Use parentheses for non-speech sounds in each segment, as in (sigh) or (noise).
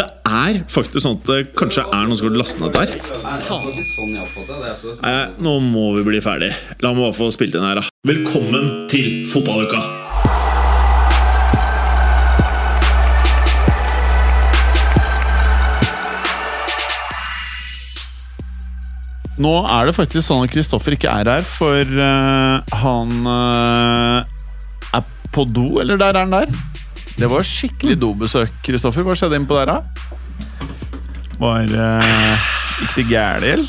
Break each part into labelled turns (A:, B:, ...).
A: Det er faktisk sånn at det kanskje er noen som har lastet ned der. Nei, nå må vi bli ferdig. La meg bare få spilt inn her, da. Velkommen til fotballuka!
B: Nå er det faktisk sånn at Kristoffer ikke er her, for eh, han eh, er på do, eller der er han der? Det var skikkelig dobesøk, Kristoffer. Hva skjedde innpå der, da? Var uh, Gikk det gærent, eller?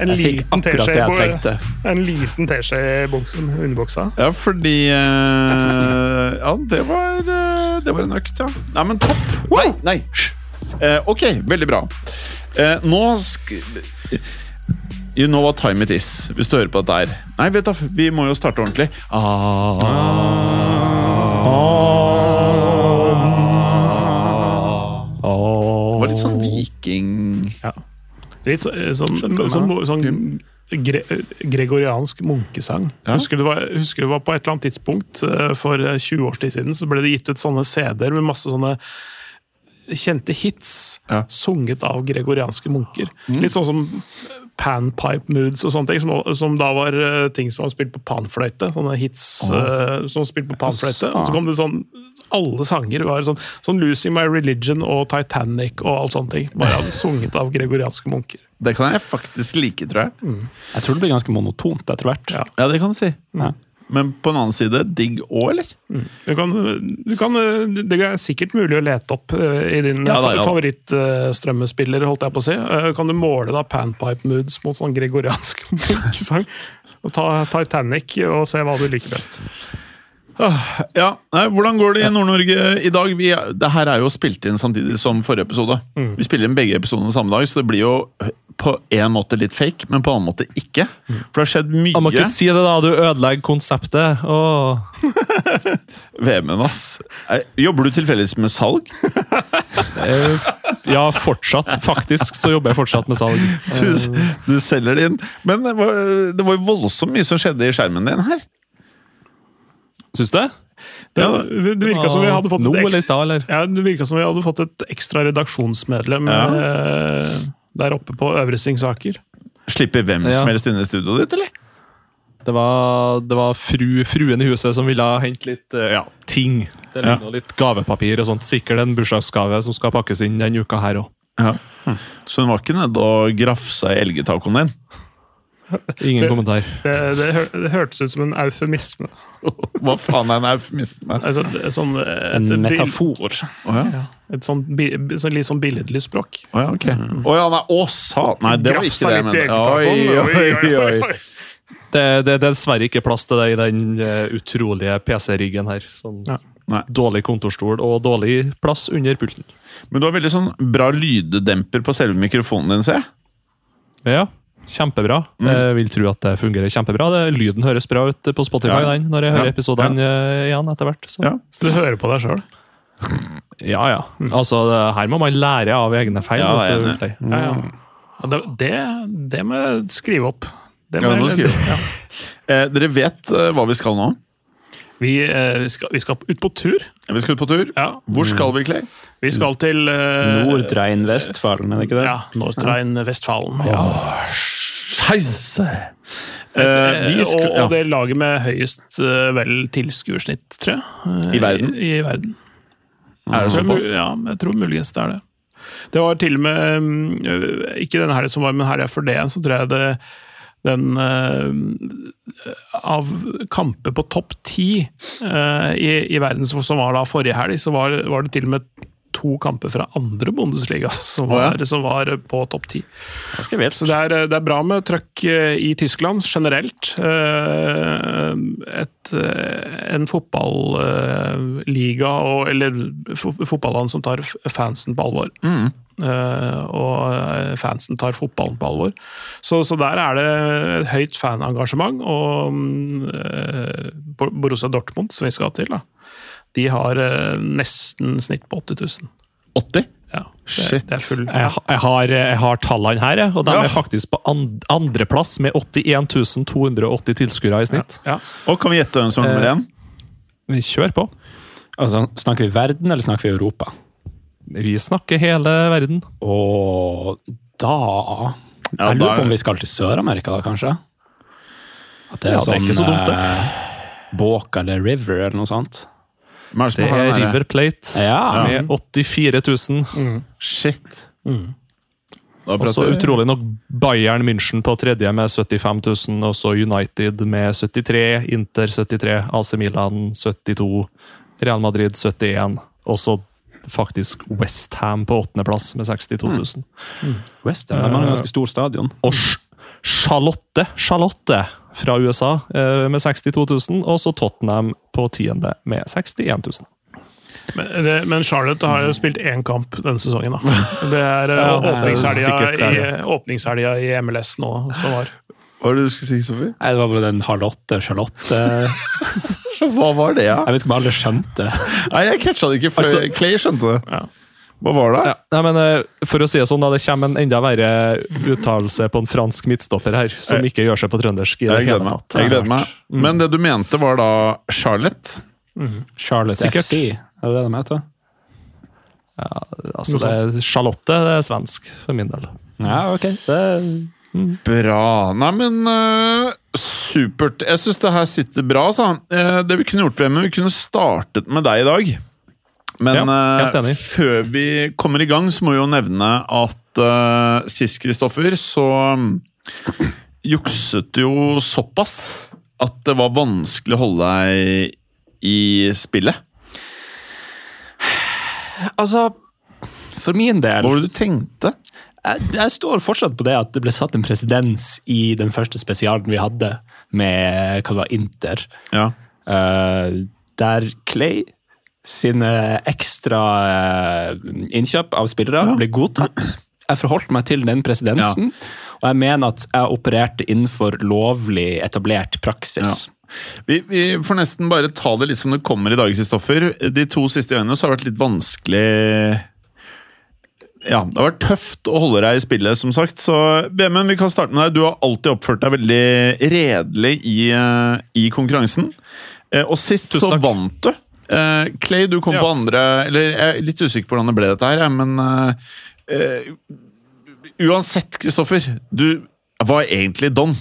C: En liten
D: akkurat det
C: teskje
D: jeg
C: i bo-
D: trengte.
C: En liten teskje i buksen- underbuksa.
B: Ja, fordi eh, Ja, det var, eh, det var en økt, ja. Nei, men topp! Nei, nei! hysj. Eh, ok, veldig bra. Eh, nå sk... You know what time it is, hvis du hører på dette her. Nei, vet du, vi må jo starte ordentlig. Ah. Det var litt sånn viking...
C: Litt så, sånn,
B: Skjønner
C: sånn,
B: meg.
C: sånn gre, gregoriansk munkesang. Husker, du det var, husker det var på et eller annet tidspunkt eh, for 20 års tid siden, så ble det gitt ut sånne CD-er med masse sånne kjente hits
B: Ja.
C: sunget av gregorianske munker.
D: Mm.
C: Litt sånn som panpipe moods og sånne ting, som, som da var eh, ting som var spilt på panfløyte. Sånne hits eh, som var spilt på panfløyte. Og så kom det sånn alle sanger var sånn, sånn 'Losing My Religion' og 'Titanic' og alt sånne ting. Bare sunget av gregorianske munker.
B: Det kan jeg faktisk like, tror jeg.
D: Jeg tror det blir ganske monotont etter hvert. Ja.
B: Ja, det kan du si. Men på en annen side, digg òg, eller?
C: Du kan, du kan, det er sikkert mulig å lete opp eh, i din
B: Ja, da, ja.
C: favorittstrømmespiller, holdt jeg på å si. Eh, Kan du måle da panpipe moods mot sånn gregoriansk (laughs) munkesang? Og Ta Titanic og se hva du liker best.
B: Ja, nei, Hvordan går det i Nord-Norge i dag? Vi, er- det her er jo spilt inn samtidig som forrige episode. Vi spiller inn begge episodene samme dag, så det blir jo på en måte litt fake, men på en annen måte ikke. For det har skjedd
D: Jeg må
B: mye
D: ikke si det, da! Du ødelegger konseptet. Åh.
B: VM-en, ass. Nei, Jobber du tilfeldigvis med salg? (laughs)
D: Eh, Ja, fortsatt. Faktisk så jobber jeg fortsatt med salg.
B: Du, du selger det inn. Men det var, det var jo voldsomt mye som skjedde i skjermen din her.
D: Eh, Syns du?
C: Det,
B: Ja,
C: det virka som vi hadde fått
D: Nå
C: et
D: eller i
C: ekstra,
D: stad, eller?
C: ja, det virket som vi hadde fått et ekstra redaksjonsmedlem eh, der oppe på Øvrestingsaker.
B: Slipper hvem
D: Ja.
B: som helst inn i studioet ditt, eller?
D: Det var, det var fru, fruen i huset som ville hente litt eh, ja, ting. Det ligner litt gavepapir og sånt. Sikkert en bursdagsgave som skal pakkes inn denne uka her òg.
B: Så hun var ikke nede og grafsa i elgetacoen din?
D: Ingen kommentar.
C: Det, det, hør, det hørtes ut som en eufemisme.
B: Hva faen er en eufemisme?
C: Altså, et, sånn, et,
D: En
C: bil-
D: metafor.
B: Å ja.
C: Et sånn, bi- bi- sånn, litt sånn billedlig språk.
B: Å ja, ok. Å ja, nei, å sa Mm. Nei, det var ikke det
C: Grafsa
B: jeg
C: litt sånn, i
B: mente. Oi, oi,
C: eggetacoen.
B: oi.
D: Det, det, det er dessverre ikke plass til det i den eh, utrolige PC-riggen her. Sånn.
C: Ja.
B: Nei.
D: Dårlig kontorstol og dårlig plass under pulten.
B: Men du har veldig sånn bra lyddemper på selve mikrofonen din, ser jeg.
D: Ja, Kjempebra.
B: Mm.
D: Jeg vil tro at det fungerer kjempebra. Det, lyden høres bra ut på Spotify
B: Ja.
D: den, når jeg hører
B: Ja.
D: episodene eh, igjen etter hvert. Så.
B: Ja. Mm.
C: Så du hører på deg sjøl.
D: ja, ja. Altså, det, her må man lære av egne feil.
B: Ja, jeg er enig.
D: vet du, Ulrik.
C: Ja, ja. Ja, Det, det, det må jeg skrive opp. Det
B: Ja, det må
C: jeg-
B: du Eh, dere vet eh, hva vi skal nå?
C: Vi, eh, vi, skal, vi skal ut på tur.
B: Vi skal ut på tur.
C: Ja.
B: Hvor skal vi, Clay?
E: Mm.
C: Vi
B: Mm.
C: skal til eh,
E: Nordrhein-Vestfalen, er det ikke det?
C: Ja, Nordrhein-Vestfalen. Ja.
B: Scheisse!
C: Eh,
B: vi skal,
C: og,
B: ja.
C: og det laget med høyest eh, vel tilskuersnitt, tror jeg. eh,
B: I verden?
C: I, i verden.
B: Er det
C: Jeg tror
B: såpass?
C: mul- Ja, jeg tror muligens det er det. Det var til og med mm, øh, Ikke denne helgen som var, men helga før det igjen, så tror jeg det den øh, Av kamper på topp ti øh, i, i verden som som var da forrige helg, så var, var det til og med to kamper fra andre Bundesliga (laughs) som
B: Å, ja.
C: var, som var på topp ti.
E: Ganske vilt.
C: Så det er, eh, det er bra med trøkk eh, i Tyskland generelt. Eh, Et, eh, en fotballiga, eller fo- fotballand som tar f- fansen på alvor. Eh, Og eh, fansen tar fotballen på alvor. Så, så der er det et høyt fanengasjement. Og mm, eh, Bor- Borussia Dortmund, som vi skal til, da. de har eh, nesten snitt på 80 000.
B: 80?
C: Ja, det,
B: Shit.
C: Det er full,
D: Jeg, ha- jeg, har, jeg har tallene her, jeg, og de
B: Ja.
D: er faktisk på and, andreplass med 81 280 tilskuere i snitt.
C: ja.
B: Og kan vi gjette hvem som er nummer
D: Eh,
B: én?
D: Vi kjører på.
E: Altså, snakker vi verden, eller snakker vi Europa?
D: Vi snakker hele verden.
E: Og da
B: Ja,
E: Jeg
B: da
E: lurer
B: er
E: på om
B: det-
E: vi skal til Sør-Amerika, da, kanskje? At det er,
D: Ja, det er
E: sånn
D: ikke så dumt, det.
E: eh, Boca eller River eller noe sånt.
B: Hvem er det som
D: Det
B: har
D: er
B: den der?
D: River Plate
E: sånn eh, Ja,
D: med 84 000.
B: Shit. Da
D: Og så
B: prater vi-
D: utrolig nok Bayern München på tredje med 75 000, og så United med 73, Inter 73, AC Milan 72, Real Madrid 71, og så faktisk Westham på åttendeplass med 62 000.
E: Mm. West Ham. De har en ganske stor stadion.
D: Og Sh- Charlotte, Charlotte fra USA eh, med 62 000, og så Tottenham på tiende med 61 000.
C: Men, det, men Charlotte har jo spilt én kamp denne sesongen,
E: (laughs)
C: da. Det er eh,
D: det er sikkert
C: åpningshelga
D: det,
C: i, åpningshelga i MLS nå som var.
B: Hva er det du skulle si, Sofie?
E: Nei, det var bare den Charlotte Charlotte Jeg
B: Hva var det, ja?
E: vet ikke om alle skjønte.
B: Nei, jeg catcha det ikke, for
D: Altså-
B: Clay skjønte det.
C: Ja.
B: Hva var det?
D: Ja, nei, men eh, For å si det sånn, da, det kommer en enda verre uttalelse på en fransk midtstopper her, som ikke gjør seg på trøndersk. i det
B: Jeg gleder
D: hele
B: meg.
D: tatt.
B: Jeg gleder meg. Men det du mente, var da Charlotte?
E: Charlotte
D: Sikkert.
E: FC, er det det de heter?
D: Altså, det er Charlotte det er svensk, for min del.
E: Ja, ok. Det,
B: Bra. Nei, men øh, supert. Jeg syns det her sitter bra, sa han. Eh, det vi kunne gjort, Vemund, vi kunne startet med deg i dag. Men
D: Ja, helt
B: eh,
D: enig.
B: før vi kommer i gang, så må vi jo nevne at eh, sist, Kristoffer, så mm, jukset du jo såpass at det var vanskelig å holde deg i spillet.
E: altså, for min
B: Hva
E: del
B: var det du tenkte?
E: jeg, jeg står fortsatt på det at det ble satt en presedens i den første spesialen vi hadde med hva det var, Inter.
B: Ja.
E: Eh, der Clay sine ekstra eh, innkjøp av spillere ble godtatt. Jeg forholdt meg til den presidensen, og jeg mener at jeg opererte innenfor lovlig etablert praksis.
B: Vi, vi får nesten bare ta det litt som det kommer i dag, Kristoffer. De to siste øynene så har det vært litt vanskelig Ja, det har vært tøft å holde deg i spillet, som sagt. Så Vemund, vi kan starte med deg. Du har alltid oppført deg veldig redelig i, eh, i konkurransen. Eh, Og sist
D: Tusen
B: så
D: takk.
B: vant du. Eh, Clay, du kom
D: Ja.
B: på andre Eller jeg er litt usikker på hvordan det ble dette her, jeg, men eh, eh, Uansett, Kristoffer, du var egentlig don.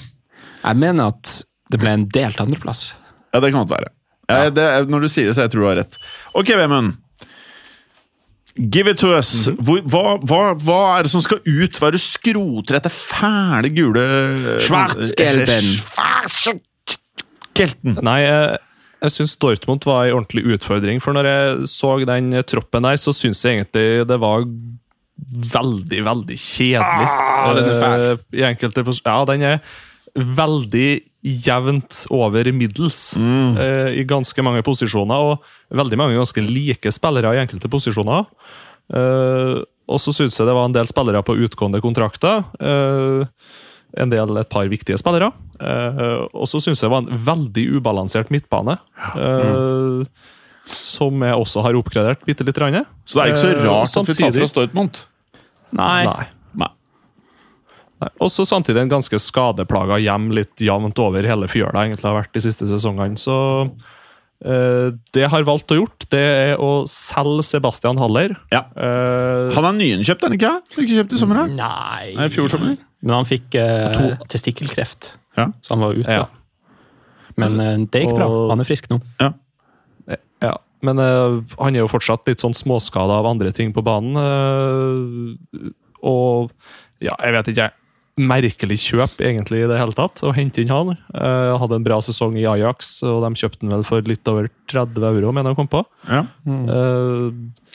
E: Jeg mener at det ble en delt andreplass.
B: Ja, det kan godt være. Jeg, det, er- når du sier det, så jeg tror du har rett. Ok, Vemund. Give it to us. Hvor, hva, hva, hva er det som skal ut? Hva er det du skroter etter fæle, gule Eh,
E: Schwarzgelben.
B: Kelten.
D: (laughs) Nei, eh, jeg syns Dortmund var en ordentlig utfordring, for når jeg så den troppen der, så syns jeg egentlig det var veldig, veldig kjedelig.
E: Ah, den er fæl.
D: Eh, I enkelte pos- Ja, den er veldig jevnt over middels
E: Mm.
D: eh, i ganske mange posisjoner, og veldig mange ganske like spillere i enkelte posisjoner. Eh, og så syns jeg det var en del spillere på utgående kontrakter. Eh, en del, et par viktige spillere. Eh, og så syns jeg det var en veldig ubalansert midtbane, eh, som jeg også har oppgradert bitte lite grann.
B: Så det er ikke så
D: Eh,
B: rart at vi tar
D: samtidig-
B: fra Stortmund.
D: Nei. Nei. Og så samtidig en ganske skadeplaga hjem litt jevnt over hele fjøla egentlig har vært de siste sesongene. Så eh, det jeg har valgt å gjort, det er å selge Sebastian Haller.
B: Ja.
D: Eh,
B: Han er nyinnkjøpt, er han ikke? Du ikke kjøpt i sommer? da?
E: Nei
B: Nei, i fjor sommer.
E: Men han fikk eh,
D: To.
E: testikkelkreft,
B: Ja.
E: så han var ute.
D: Ja.
E: Men eh, det gikk bra.
D: Og-
E: Han er frisk nå.
D: ja. Men eh, han er jo fortsatt litt sånn småskada av andre ting på banen. eh, og ja, jeg vet ikke, jeg. Merkelig kjøp egentlig i det hele tatt, å hente inn han. Eh, hadde en bra sesong i Ajax, og de kjøpte han vel for litt over 30 euro, mener jeg å komme på.
B: Ja.
D: Eh,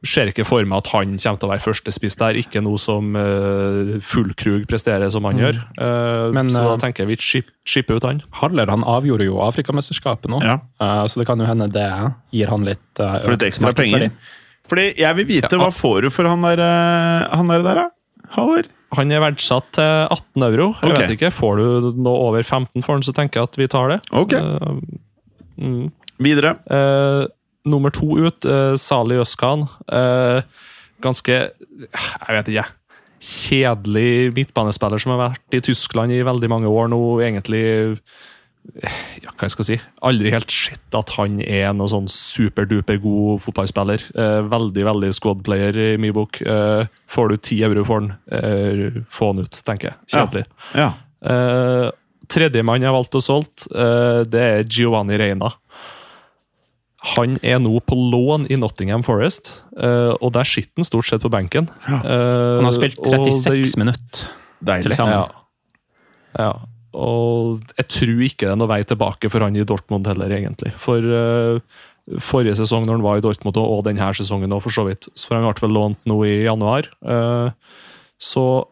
D: ser ikke for meg at han kommer til å være førstespiss der, ikke noe som eh, Fullkrug presterer som han gjør. Eh,
E: Mm. Men,
D: så
E: eh,
D: da tenker jeg vi chip, chipper ut han.
E: Haller han avgjorde jo Afrikamesterskapet nå,
B: Ja.
E: Eh, så det kan jo hende det gir han litt eh,
B: For litt
E: økt
B: ekstra penger.
E: markedsverdi.
B: Fordi jeg vil vite, hva får du for han der, eh, han der, der da? Haller?
D: Han er verdsatt til 18 euro. Jeg
B: Ok.
D: vet ikke, Får du noe over 15 for han, så tenker jeg at vi tar det.
B: Ok.
D: Eh, mm.
B: Videre.
D: Eh, nummer to ut, eh, Sali Øskan. Eh, ganske Jeg vet ikke. Kjedelig midtbanespiller som har vært i Tyskland i veldig mange år nå. Egentlig ja, hva jeg skal si, aldri helt sett at han er noen sånn superduper god fotballspiller. Eh, veldig veldig squadplayer i min bok. Eh, får du ti euro for han, eh, få han ut, tenker jeg. Kjedelig.
B: Ja.
D: Eh, Tredjemann jeg valgte å solgt, eh, det er Giovanni Reina. Han er nå på lån i Nottingham Forest, eh, og der sitter han stort sett på benken. Eh,
E: Han
B: Eh,
E: har spilt 36 minutter til
B: Deilig.
E: sammen.
D: Ja. ja. Og jeg tror ikke det er noe vei tilbake for han i Dortmund heller, egentlig. For eh, forrige sesong når han var i Dortmund, og- og denne sesongen òg, for så vidt. For han ble vel lånt nå i januar. Eh, så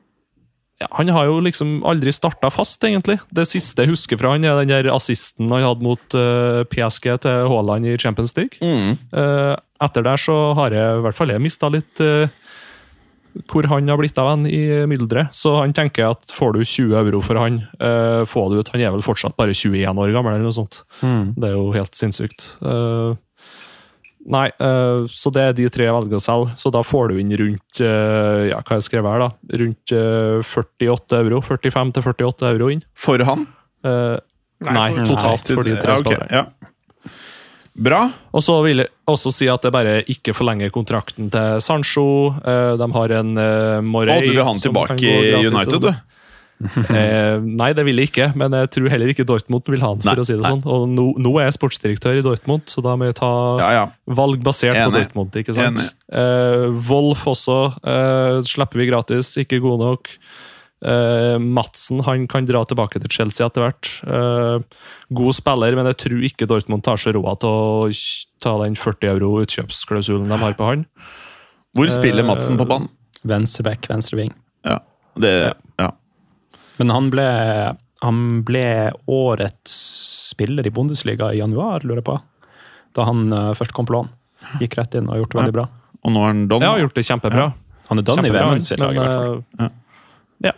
D: ja, han har jo liksom aldri starta fast, egentlig. Det siste jeg husker fra han, er den der assisten han hadde mot eh, PSG til Haaland i Champions League.
E: Mm.
D: Eh, etter der så har jeg i hvert fall jeg mista litt eh, hvor han har blitt av han i mylderet. Så han tenker at får du 20 euro for han, eh, få det ut. Han er vel fortsatt bare 21 år gammel, eller noe sånt. Det er jo helt sinnssykt. Eh, nei, eh, så det er de tre jeg velger å selge. Så da får du inn rundt eh, ja, hva har jeg skrevet her da? Rundt eh, 48 euro. 45 til 48 euro inn.
B: For han?
D: Eh, nei,
C: for-
D: totalt for de
B: Ja,
D: tre
B: ok,
D: spillerne.
B: ja. Bra.
D: Og så vil jeg også si at jeg bare ikke forlenger kontrakten til Sancho. Eh, De har en eh,
B: Å,
D: Morey
B: du vil ha han
D: som kan
B: tilbake
D: gå
B: i
D: gratis
B: United,
D: til
B: du?
D: dem. Eh, nei, det vil jeg ikke, men jeg tror heller ikke Dortmund vil ha han. for
B: Nei,
D: å si det
B: nei.
D: sånn. Og nå, nå er jeg sportsdirektør i Dortmund, så da må jeg ta
B: Ja, ja.
D: valg basert på
B: Enig.
D: Dortmund. ikke sant?
B: Enig.
D: Eh, Wolf også eh, slipper vi gratis, ikke god nok. Eh, Madsen han kan dra tilbake til Chelsea etter hvert. Eh, god spiller, men jeg tror ikke Dortmund tar seg råd til å kj- ta den 40 euro utkjøpsklausulen de har på han.
B: Hvor spiller
D: Eh,
B: Madsen på banen?
E: Venstreback, venstreving.
B: Ja. Det, ja.
E: Men han ble, han ble årets spiller i Bundesliga i januar, lurer jeg på. Da han eh, først kom på lån. Gikk rett inn og har gjort det veldig bra.
B: Og nå er han Don.
D: Jeg har gjort det kjempebra.
E: Han er Don i
D: Kjempebra,
E: VM-en sitt lag, i hvert fall.
D: men, eh, ja.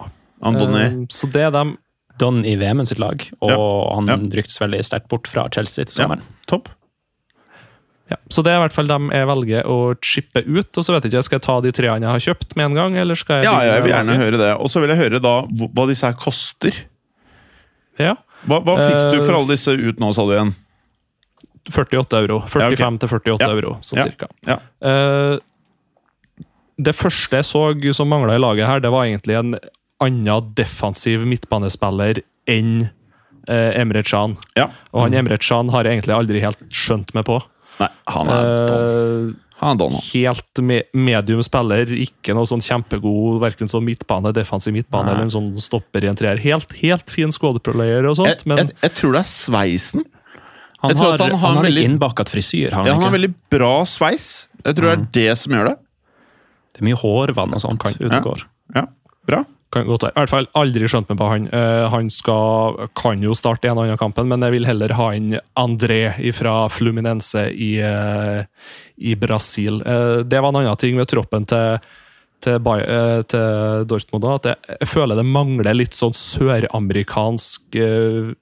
B: Han Donny.
D: Eh, Så det er dem.
E: Don i VM-en sitt lag, og han
B: Ja.
E: ryktes veldig sterkt bort fra Chelsea til
B: Ja.
E: sommeren.
B: Topp.
D: Ja, så det er i hvert fall dem jeg velger å chippe ut. Og så vet jeg ikke, skal jeg ta de treene jeg har kjøpt med en gang, eller skal jeg
B: Ja,
D: begynne
B: jeg vil
D: å
B: gjerne
D: lage?
B: høre det. Og så vil jeg høre da hv- hva disse her koster.
D: Ja.
B: Hva, hva fikk du
D: Eh,
B: for alle disse ut nå, sa du igjen?
D: 48 euro. 45
B: Ja, ok.
D: til 48
B: Ja.
D: euro, sånn
B: Ja.
D: cirka.
B: Ja.
D: Eh, det første jeg så som mangla i laget her, det var egentlig en annen defensiv midtbanespiller enn eh, Emre Can.
B: ja.
D: Og
B: Mm.
D: han Emre Can har jeg egentlig aldri helt skjønt meg på.
B: Nei, han er Don.
D: Eh,
B: Han er Don. han.
D: helt me medium spiller, ikke noe sånn kjempegod hverken som midtbane, defensiv midtbane eller en sånn stopper i en treer. Helt, helt fin squadplayer og
B: Jeg,
D: sånt, men
B: jeg, jeg tror det er sveisen.
E: Han
B: Jeg tror
E: har,
B: at han
E: han
B: har
E: har,
B: en
E: litt
B: veldig-
E: innbakat frisyr, har han
B: Ja, han har
E: ikke?
B: veldig bra sveis. Jeg tror det
D: Mm.
B: er det som gjør det.
E: Det er mye hårvann og sånt ute
B: Ja.
E: og går.
B: Ja, Bra.
D: kan godt være. I hvert fall aldri skjønt meg på han. Eh, han skal, kan jo starte en og annen kampen, men jeg vil heller ha inn André fra Fluminense i, eh, i Brasil. Eh, det var en annen ting med troppen til til, Bay- eh, til Dortmund da, at jeg, jeg føler det mangler litt sånn søramerikansk eh,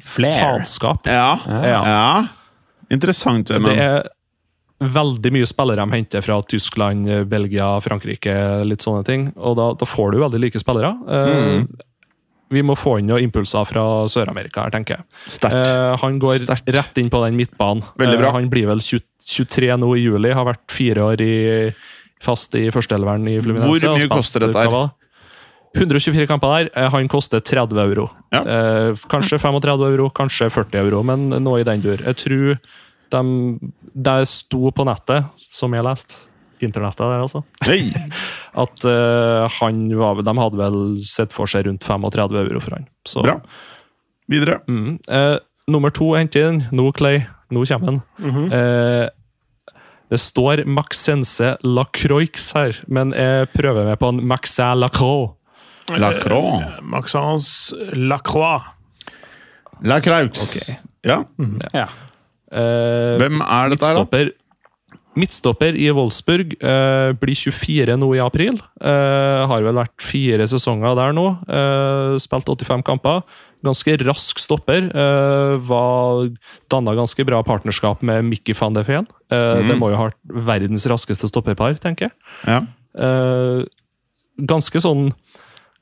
E: Flair.
D: faenskap.
B: Ja.
D: Ja.
B: ja. Interessant, men
D: Det er veldig mye spillere de henter fra Tyskland, eh, Belgia, Frankrike, litt sånne ting. Og da, da får du veldig like spillere. Eh, Vi må få inn noen impulser fra Sør-Amerika her, tenker jeg.
B: sterkt.
D: Eh, han går
B: Sterkt.
D: rett inn på den midtbanen.
B: Veldig bra.
D: Eh, han blir vel 20, 23 nå i juli, har vært fire år i, fast i førsteelveren i Fluminense.
B: Hvor mye
D: og spilt,
B: koster dette her?
D: hva var det? 124 kamper der. Eh, Han koster 30 euro.
B: Ja.
D: Eh, kanskje 35 euro, kanskje 40 euro, men noe i den dur. Jeg tror de, det sto på nettet, som jeg leste, internettet der altså,
B: Hei.
D: at eh, han var, de hadde vel sett for seg rundt 35 euro for han. Så,
B: Bra.
D: (laughs)
B: Videre.
D: Mm. Eh, nummer to er hentet inn. Nå, Clay. Nå kommer han. eh, det står Maxence Lacroix her, men jeg prøver meg på en Maxin Lacroix.
B: Lacroix.
C: Maxence Lacroix.
B: Lacroix. Ja.
D: Eh,
B: Hvem er dette her, da?
D: midtstopper, midtstopper i Wolfsburg. eh, blir 24 nå i april. Eh, har vel vært fire sesonger der nå. eh, spilt 85 kamper. Ganske rask stopper. eh, var Danna ganske bra partnerskap med Mickey van de Feen. Eh, Det må jo ha vært verdens raskeste stopperpar, tenker jeg.
B: Mm. Ja.
D: Eh, ganske sånn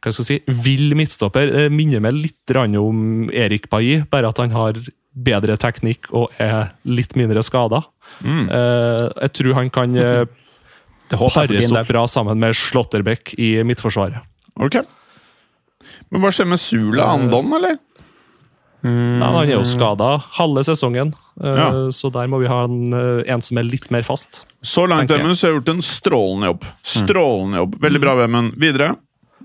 D: hva skal jeg si, vill midtstopper. Eh, minner meg litt grann om Erik Bailly, bare at han har bedre teknikk og er litt mindre skada. jeg tror han kan eh,
E: Mm. (laughs) Det håper jeg
D: pares
E: for din
D: opp
E: del.
D: bra sammen med Slåtterbekk i midtforsvaret.
B: Ok. Men hva skjer med Sula
D: Eh,
B: Andon, eller?
E: Mm.
D: Nei, han er jo skada halve sesongen, eh,
B: Ja.
D: så der må vi ha en, eh, en som er litt mer fast.
B: Så langt
D: tenker jeg.
B: Vemund, så har jeg gjort en strålende jobb.
D: Mm.
B: Strålende jobb. Veldig bra, Vemund. Videre.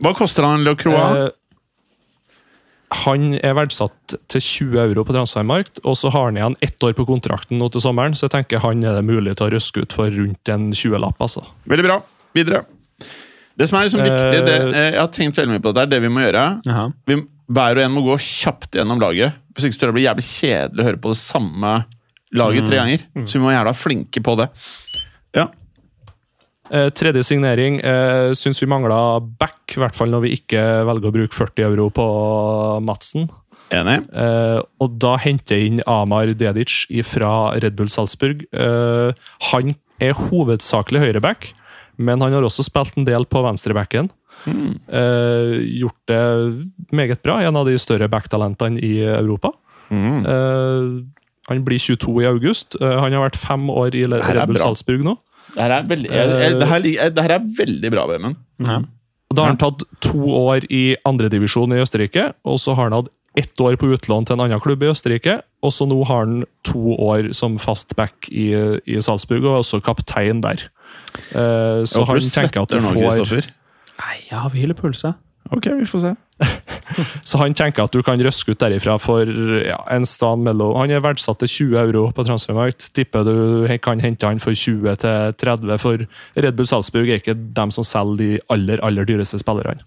B: Hva koster han Lacroix?
D: Eh, han er verdsatt til 20 euro på transfermarkt, og så har han igjen ett år på kontrakten nå til sommeren, så jeg tenker han er det mulig til å røske ut for rundt en 20-lapp, altså.
B: Veldig bra. Videre. Det som er liksom viktig,
D: Eh,
B: det, eh, jeg har tenkt veldig mye på dette, her, det vi må gjøre
E: Jaha.
B: vi, Hver og en må gå kjapt gjennom laget. Hvis ikke så tror jeg det blir jævlig kjedelig å høre på det samme laget
D: Mm.
B: tre ganger. Så vi må gjerne være flinke på det. Ja.
D: Eh, tredje signering eh, syns vi mangla back, i hvert fall når vi ikke velger å bruke 40 euro på Madsen.
B: Enig.
D: Eh, og da henter jeg inn Amar Dedic fra Red Bull Salzburg. Eh, han er hovedsakelig høyreback, men han har også spilt en del på venstrebacken.
B: Mm.
D: Eh, gjort det meget bra. En av de større backtalentene i Europa.
B: Mm.
D: Eh, han blir 22 i august. Eh, han har vært fem år i Le-
B: her er
D: Red Bull
B: bra.
D: Salzburg nå.
B: Det her er veldig, jeg, jeg, Eh, det her, lik- jeg, det her er veldig bra, Vemund.
D: Og Da har han tatt to år i andredivisjon i Østerrike, og så har han hatt ett år på utlån til en annen klubb i Østerrike, og så nå har han to år som fast back i, i Salzburg, og er også kaptein der. Eh, så han tenker at du får
E: Nei, jeg har hvilepuls, jeg.
B: Ok, vi får se.
D: Så han tenker at du kan røske ut derifra for ja, en stand mellom Han er verdsatt til 20 euro på transfermarkt. Tipper du he- kan hente han for 20 til 30, for Red Bull Salzburg er ikke dem som selger de aller, aller dyreste spillerne.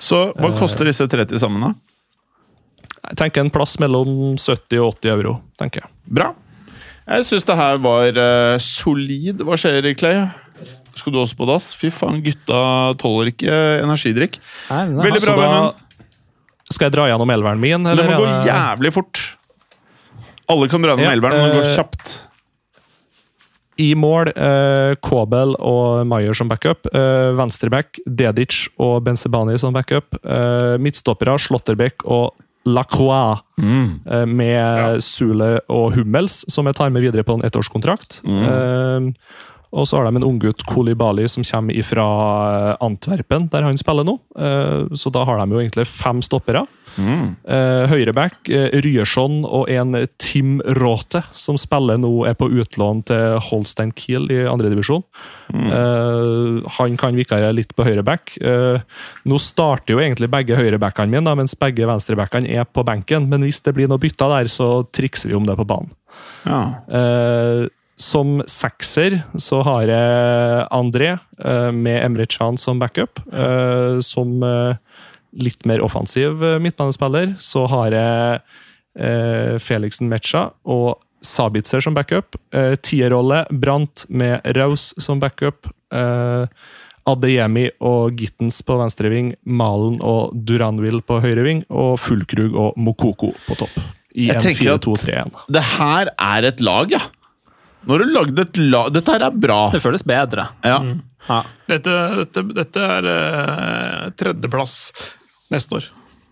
B: Så
D: Eh.
B: hva koster disse tre til sammen, da?
D: Jeg tenker en plass mellom 70 og 80 euro, tenker jeg.
B: Bra. Jeg syns det her var eh, solid. Hva skjer, Clay? Skal du også på dass? Fy faen, gutta tåler ikke eh, energidrikk.
E: Nei, men det- altså
B: Veldig bra,
D: da-
B: Vemund.
D: Skal jeg dra gjennom elveren min?
B: Det må
D: er
B: gå
D: det-
B: jævlig fort. Alle kan dra
D: Ja,
B: gjennom elveren, men det går
D: eh,
B: kjapt.
D: I mål, eh, Kobel og Maier som backup. Eh, Venstreback, Dedic og Benzebani som backup. Eh, midtstoppere, Slåtterbekk og Lacroix.
B: Mm.
D: Eh, med Sule og Hummels, som jeg tar med videre på en ettårskontrakt.
B: Mm.
D: Eh, og så har de en unggutt, Kolibali, som kommer fra Antwerpen, der han spiller nå. Eh, så da har de jo egentlig fem stoppere. Eh, Høyreback, eh, Ryerson og en Tim Råte, som spiller nå er på utlån til Holstein Kiel i andredivisjon. Eh, han kan vikare litt på høyreback. Eh, nå starter jo egentlig begge høyrebackene mine, da, mens begge venstrebackene er på benken. Men hvis det blir noe bytta der, så trikser vi om det på banen.
B: Ja.
D: Eh, som sekser så har jeg André, eh, med Emre Can som backup. Eh, som eh, litt mer offensiv eh, midtbanespiller. Så har jeg eh, Felixen Mecha og Sabitzer som backup. Eh, Tierrolle Brant med Raus som backup. Eh, Adeyemi og Gittens på venstre ving, Malen og Duranville på høyre ving, og Fullkrug og Mokoko på topp. I
B: Jeg
D: en
B: tenker at-
D: 4-2-3-1.
B: Det her er et lag, ja. Nå har du lagd et lag Dette her er bra.
E: Det føles bedre.
B: Ja.
C: Dette, dette, dette er eh, tredjeplass neste år.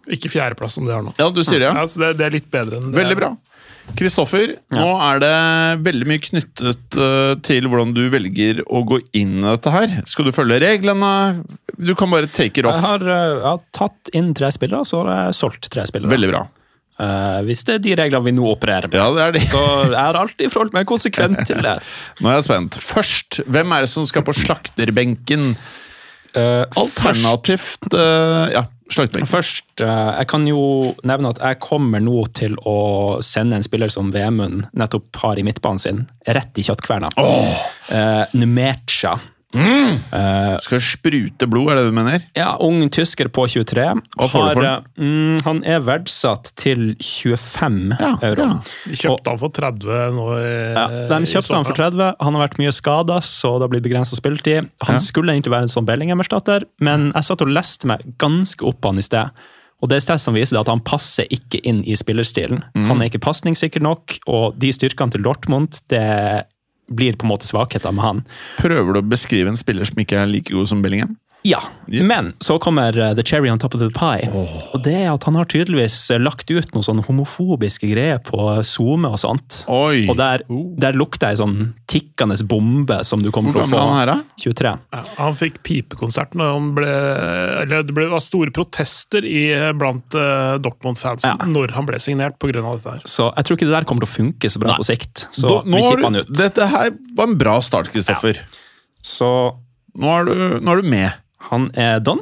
C: Ikke fjerdeplass, som det er nå.
B: ja, du sier det, ja.
C: Ja, så det, det er litt bedre enn det.
B: Veldig bra. Kristoffer, nå er det veldig mye knyttet eh, til hvordan du velger å gå inn i dette her. Skal du følge reglene? Du kan bare take it
E: Jeg
B: off.
E: har, eh, jeg har tatt inn tre spillere, så har jeg solgt tre spillere.
B: Veldig bra.
E: Eh, hvis det er de reglene vi nå opererer med.
B: Ja, det er det.
E: Så jeg har alltid forholdt meg konsekvent til det.
B: (laughs) Nå er jeg spent. Først, hvem er det som skal på slakterbenken?
E: Eh,
B: Alternativt eh, Ja, slakterbenken.
E: Først, eh, jeg kan jo nevne at jeg kommer nå til å sende en spiller som Vemund nettopp har i midtbanen sin, rett i kjøttkverna. Oh. Numertia.
B: Mm!
E: Eh,
B: Skal sprute blod, er det du mener?
E: Ja, ung tysker på 23.
B: Hva får du for den?
E: eh, Mm, han er verdsatt til 25
B: Ja,
E: euro.
B: ja.
C: De kjøpte han for 30 nå i
E: Ja, de
C: i
E: kjøpte han
C: sommer.
E: for 30. Han har vært mye skada, så det blir begrensa spilletid. Han skulle egentlig være en sånn Bellingham-erstatter, men jeg satt og leste meg ganske opp på han i sted. Og det er sted som viser det at han passer ikke inn i spillerstilen.
F: Mhm.
E: Han er ikke pasningssikker nok, og de styrkene til Dortmund, det blir på en måte svakheter med han.
B: Prøver du å beskrive en spiller som ikke er like god som Bellingham?
E: Ja, men så kommer eh, the cherry on top of the pie. Og det er at han har tydeligvis eh, lagt ut noen sånne homofobiske greier på altså SoMe og sånt.
B: Oi!
E: Og der, der lukter ei sånn tikkende bombe som du kommer
B: Hvor
E: til å
B: gammel
E: få.
B: er han her, da?
E: 23.
C: Ja, han fikk pipekonsert når han ble eller Det ble, det var store protester i, blant eh, Dortmund-fansen
E: Ja.
C: når han ble signert pga. dette her.
E: Så jeg tror ikke det der kommer til å funke så bra på sikt. Så
B: Da- nå
E: vi
B: har
E: kipper han
B: du-
E: ut.
B: Dette her var en bra start, Kristoffer.
E: Så
B: Nå, er du- nå er du med.
E: han er don.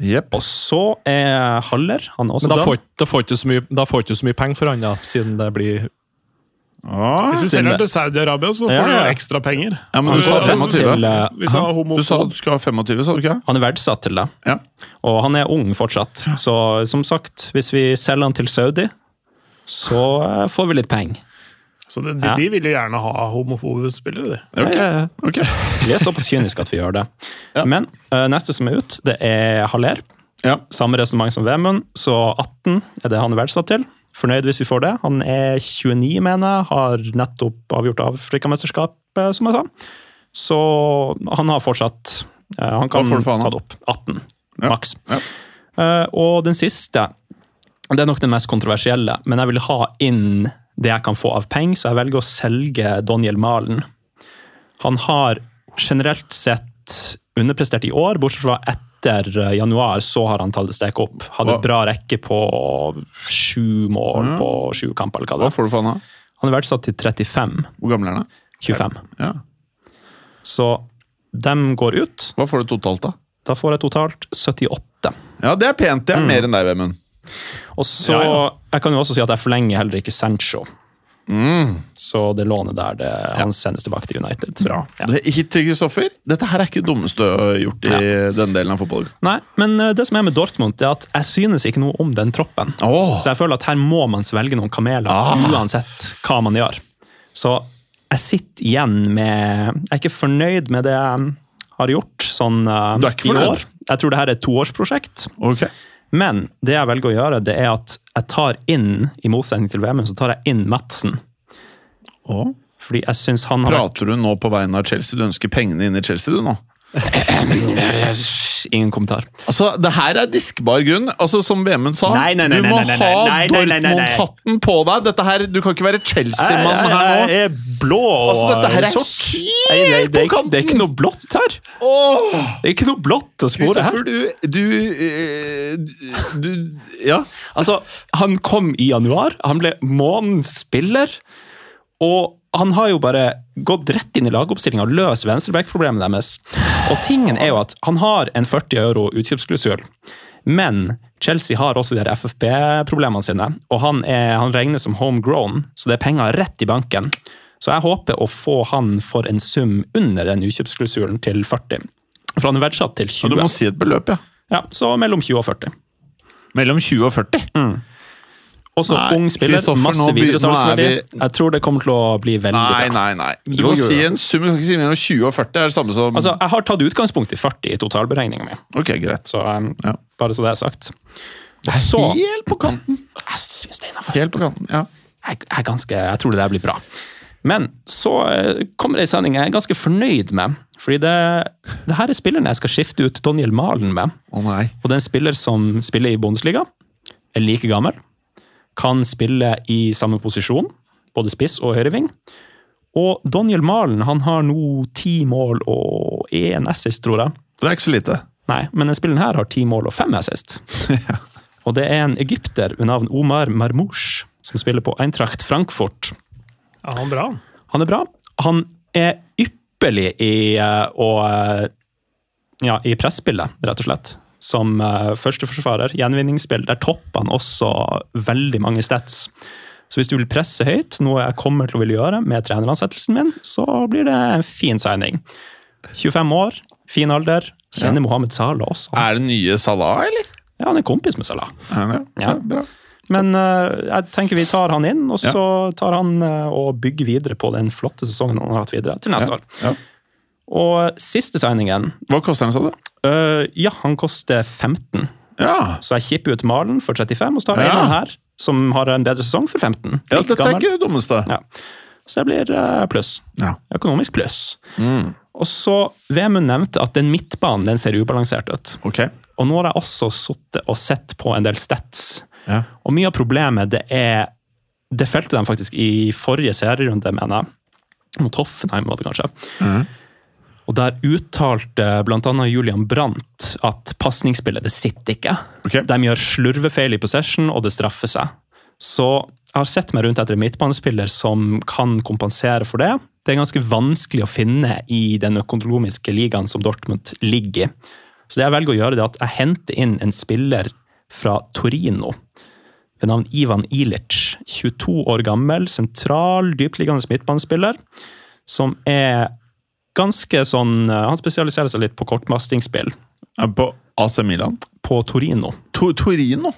B: Jepp.
E: Og så er eh, Haller han er også
D: Men
E: don.
D: da får, da får ikke så mye, da får ikke så mye penger for han, da, siden det blir
B: Ah,
C: Hvis du
B: stille.
C: selger den til Saudi-Arabia, så får
E: Ja,
C: du jo
E: ja.
C: ekstra penger.
B: Ja, men du sa
C: Ja,
B: 25.
E: Til, eh,
C: Hvis han er
B: Du sa at
C: homofob
B: du skal ha 25, sa du ikke?
E: Han er verdsatt til det.
B: Ja.
E: Og han er ung fortsatt. Så som sagt, hvis vi selger han til Saudi, så eh, får vi litt penger.
C: Så de, de,
E: Ja.
C: de vil jo gjerne ha homofobe spillere, de.
B: Ok.
E: Eh,
B: ok.
E: Vi er såpass kyniske at
B: (laughs)
E: vi gjør det. Men eh, neste som er ut, det er Haller.
B: Ja.
E: Samme resonnement som Vemund, så 18 er det han er verdsatt til. Fornøyd hvis vi får det. Han er 29, mener jeg. Har nettopp avgjort Afrikamesterskapet, som jeg sa. Så han har fortsatt eh, Han kan
B: Hva får du for han,
E: ta
B: da?
E: det opp. 18,
B: Ja,
E: maks.
B: ja.
E: Eh, og den siste, det er nok den mest kontroversielle, men jeg vil ha inn det jeg kan få av penger, så jeg velger å selge Daniel Malen. Han har generelt sett underprestert i år, bortsett fra etter eh, januar, så har han tatt et steg opp. Hadde
B: Hva-
E: bra rekke på sju mål på sju kamper, eller hva
B: Hva
E: det er.
B: får du for han da?
E: Han er verdsatt til 35.
B: Hvor gammel er han? da?
E: 25.
B: Ja.
E: Så dem går ut.
B: Hva får du totalt, da?
E: Da får jeg totalt 78.
B: Ja, det er pent.
E: Mm.
B: Det er mer enn deg, Vemund.
E: Og så, Jeg kan jo også si at jeg forlenger heller ikke Sancho.
B: Mm.
E: Så det lånet der det, han sendes tilbake til United. Ja.
B: Det- Hit til Kristoffer. Dette her er ikke det dummeste ø, gjort i denne delen av fotball.
E: Nei, men eh, det som er med Dortmund, det er at jeg synes ikke noe om den troppen.
B: Åh. Ah.
E: Så jeg føler at her må man svelge noen kameler, uansett hva man gjør. Så jeg sitter igjen med Jeg er ikke fornøyd med det jeg har gjort sånn eh,
B: Du er ikke
E: i
B: fornøyd?
E: år. Jeg tror det her er et toårsprosjekt.
B: Ok.
E: Men det jeg velger å gjøre, det er at jeg tar inn, i motsetning til VM, så tar jeg inn Madsen.
B: Åh.
E: Fordi jeg syns han har
B: Prater du nå på vegne av Chelsea? Du ønsker pengene inn i Chelsea, du nå?
E: vært (clears throat) Ingen kommentar.
B: Altså, Det her er diskbar grunn. Altså, Som Vemund sa,
E: Nei, nei, nei,
B: du
E: nei,
B: må
E: nei, nei, nei,
B: ha
E: nei, nei, nei, nei, nei.
B: Dortmund-hatten på deg! Dette her, Du kan ikke være Chelsea-mann
E: Jeg-
B: her
E: jeg-
B: nå.
E: Jeg er blå og
B: Altså, dette her er
E: sort.
B: helt
E: Nei, nei, det, er
B: på
E: ikke,
B: kanten!
E: det er ikke noe blått her! Det er ikke noe blått å spore her.
B: Kristoffer, du du, eh, du Ja.
E: Altså, Han kom i januar, han ble månedens spiller. Og han har jo bare gått rett inn i lagoppstillinga og løst venstreback-problemet deres. Og tingen er jo at han har en 40 euro utkjøpsklusul, men Chelsea har også de her FFP-problemene sine. Og han, er, han regnes som homegrown, så det er penger rett i banken. Så jeg håper å få han for en sum under den utkjøpsklusulen til 40. For han er verdsatt til
B: Ja, Du
E: 20.
B: må si et beløp, ja.
E: Ja, så mellom 20 og 40.
B: Mellom 20 og 40.
D: Også
B: Nei,
D: ung spiller,
B: Kristoffer,
D: masse
B: nå begynner- nå er
D: videresalgsverdi.
B: vi-
D: Jeg tror det kommer til å bli veldig
B: Nei,
D: bra.
B: nei, nei. Du
D: Jo,
B: må
D: jo,
B: si
D: jo.
B: en sum. Du kan ikke si mellom 20 og 40 er det samme som
D: Altså, jeg har tatt utgangspunkt i 40 i totalberegninga mi,
B: Ok, greit.
D: så um,
B: Ja.
D: bare så det er sagt. Og så
B: Helt på kanten.
D: Jeg syns det er innafor.
B: Helt på kanten, ja.
D: jeg, jeg, er ganske, jeg tror det der blir bra. Men så eh, kommer det en sending jeg er ganske fornøyd med. Fordi det, det her er spilleren jeg skal skifte ut Daniel Malen med.
B: Å nei.
D: Og det er en spiller som spiller i Bundesliga, er like gammel, kan spille i samme posisjon, både spiss og høyreving. Og Daniel Malen han har nå ti mål og én assist, tror jeg.
B: Det er ikke så lite.
D: Nei, men denne spilleren her har ti mål og fem assist. Og det er en egypter ved navn Omar Marmoush, som spiller på Eintracht Frankfurt.
C: Ja, han er bra.
D: Han er bra. Han er ypperlig i eh, å eh, Ja, i presspillet, rett og slett. Som eh, førsteforsvarer, gjenvinningsspill. Der topper han også veldig mange stats. Så hvis du vil presse høyt, noe jeg kommer til å ville gjøre med treneransettelsen min, så blir det en fin signing. 25 år, fin alder. Kjenner Mohammed Salah også.
B: Er det nye Salah, eller?
D: Ja, han er kompis med Salah.
B: Ja, ja.
D: Ja.
B: bra.
D: Men eh, jeg tenker vi tar han inn, og så tar han eh, og bygger videre på den flotte sesongen han har hatt videre til neste år.
B: Ja.
D: Og siste signingen
B: Hva koster den, sa du?
D: eh, Ja, han koster 15,
B: Ja.
D: så jeg kipper ut Malen for 35, og så tar jeg
B: Ja.
D: en av her som har en bedre sesong, for 15.
B: ja,
D: Like
B: dette er
D: gammel.
B: ikke det dummeste.
D: Ja. Så det blir eh, pluss.
B: Ja. Mm.
D: Økonomisk pluss. Og så, Vemund nevnte at den midtbanen den ser ubalansert ut.
B: Ok.
D: Og nå har jeg også sittet og sett på en del stats.
B: Ja.
D: Og mye av problemet, det er Det felte de faktisk i forrige serierunde, mener jeg. Mot Hoffenheim, var det kanskje.
B: Mhm.
D: Og der uttalte bl.a. Julian Brandt at pasningsspillet, det sitter ikke.
B: Ok.
D: De gjør slurvefeil i possession, og det straffer seg. Så jeg har sett meg rundt etter en midtbanespiller som kan kompensere for det. Det er ganske vanskelig å finne i den økonomiske ligaen som Dortmund ligger i. Så det jeg velger å gjøre, det er at jeg henter inn en spiller fra Torino ved navn Ivan Ilic. 22 år gammel, sentral, dyptliggende midtbanespiller. Som er ganske sånn eh, Han spesialiserer seg litt på kortmastingsspill
B: Er På AC Milan.
D: på Torino.
B: To Torino.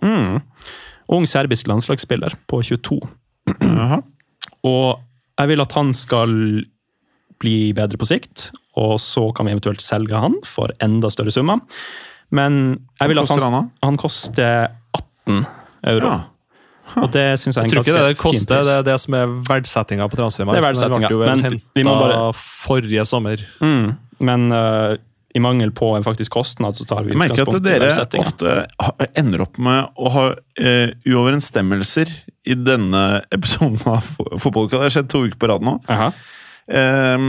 D: Ung serbisk landslagsspiller på 22.
B: Jaha.
D: Og jeg vil at han skal bli bedre på sikt, og så kan vi eventuelt selge han for enda større summer. Men jeg vil at
B: koster han
D: han, han koster 18 euro.
B: Ja.
D: Og det syns jeg
G: Jeg
D: er en
G: tror ikke
D: ganske
G: det det
D: fin
G: koster,
D: pris.
G: det er det som er verdsettinga på transfermarkedet.
D: Det er verdsettinga,
G: Den ble jo
D: men vi må
G: hentet
D: bare-
G: forrige sommer.
D: Mm. Men eh, i mangel på en faktisk kostnad, så tar vi
B: Jeg merker at
D: utgangspunkt i
B: dere
D: verdsettinga.
B: ofte ha- ender opp med å ha eh, uoverensstemmelser i denne episoden av Fo- Fotballkveld. Det har skjedd to uker på rad nå.
D: Aha.
B: Eh,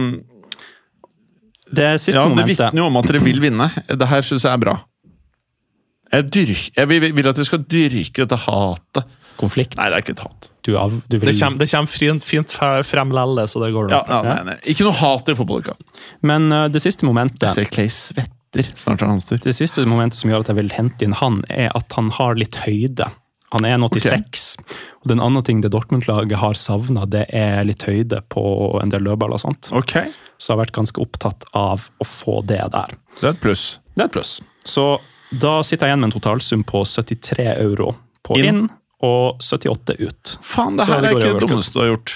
D: Det siste
B: ja, det
D: momentet
B: vitner jo om at dere vil vinne. Det her syns jeg er bra. Jeg, dyrk, jeg vil, vil at dere skal dyrke dette hatet.
D: Konflikt.
B: Nei, det er ikke et hat.
D: du, av, du vil,
G: Det kommer, det kommer fint, fint fe- frem lelle, så det går
B: Ja,
G: nok.
B: ja, nei, nei. Ikke noe hat i fotballuka.
D: Men eh, det siste momentet
B: Jeg ser Clay svetter. Snart er det hans tur.
D: Det siste momentet som gjør at jeg vil hente inn han, er at han har litt høyde. Han er 1,86. Og den andre ting det Dortmund-laget har savna, det er litt høyde på en del løpballer og sånt.
B: Ok,
D: Så jeg har vært ganske opptatt av å få det der.
B: det er et pluss.
D: Det er et pluss. Så da sitter jeg igjen med en totalsum på 73 euro på
B: Inn.
D: inn, og 78 ut.
B: Faen, det Mm.
D: Så
B: her
D: det
B: er ikke
D: går i
B: det
D: overskudd.
B: dummeste du har gjort.